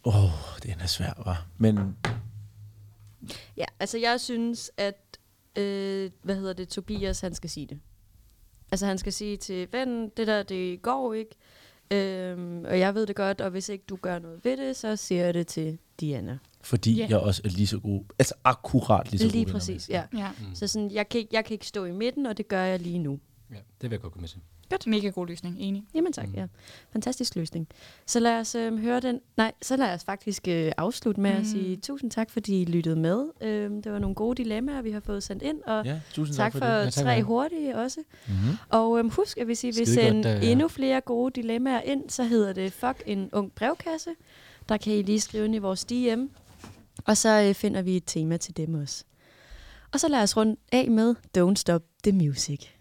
Åh, oh, den er svær, var. Men ja. Altså, jeg synes, at, øh, hvad hedder det, Tobias, han skal sige det. Altså, han skal sige til vennen, det der, det går ikke. Øhm, og jeg ved det godt, og hvis ikke du gør noget ved det, så siger jeg det til Diana. fordi Ja. yeah. jeg også er lige så god... Altså, akkurat Ligesom lige så god. Lige venner med. præcis, ja. Ja. Mm. Så sådan, jeg kan, ikke, jeg kan ikke stå i midten, og det gør jeg lige nu. Ja, det vil jeg godt gå med til. Godt. Mega god løsning, enig. Jamen Mm. tak, ja. Fantastisk løsning. Så lad os øh, høre den. Nej, så lad os faktisk øh, afslutte med mm. at sige tusind tak, fordi I lyttede med. Øh, det var nogle gode dilemmaer, vi har fået sendt ind, og Ja, tusind tak, tak for, for det. Ja, tak for tre det. Mhm. hurtige også. Mm-hmm. Og øhm, husk, at hvis I vil Skide godt, sende øh, godt, ja. endnu flere gode dilemmaer ind, så hedder det Fuck en ung brevkasse. Der kan I lige skrive ind i vores DM, og så øh, finder vi et tema til dem også. Og så lad os runde af med Don't Stop the Music. Oh,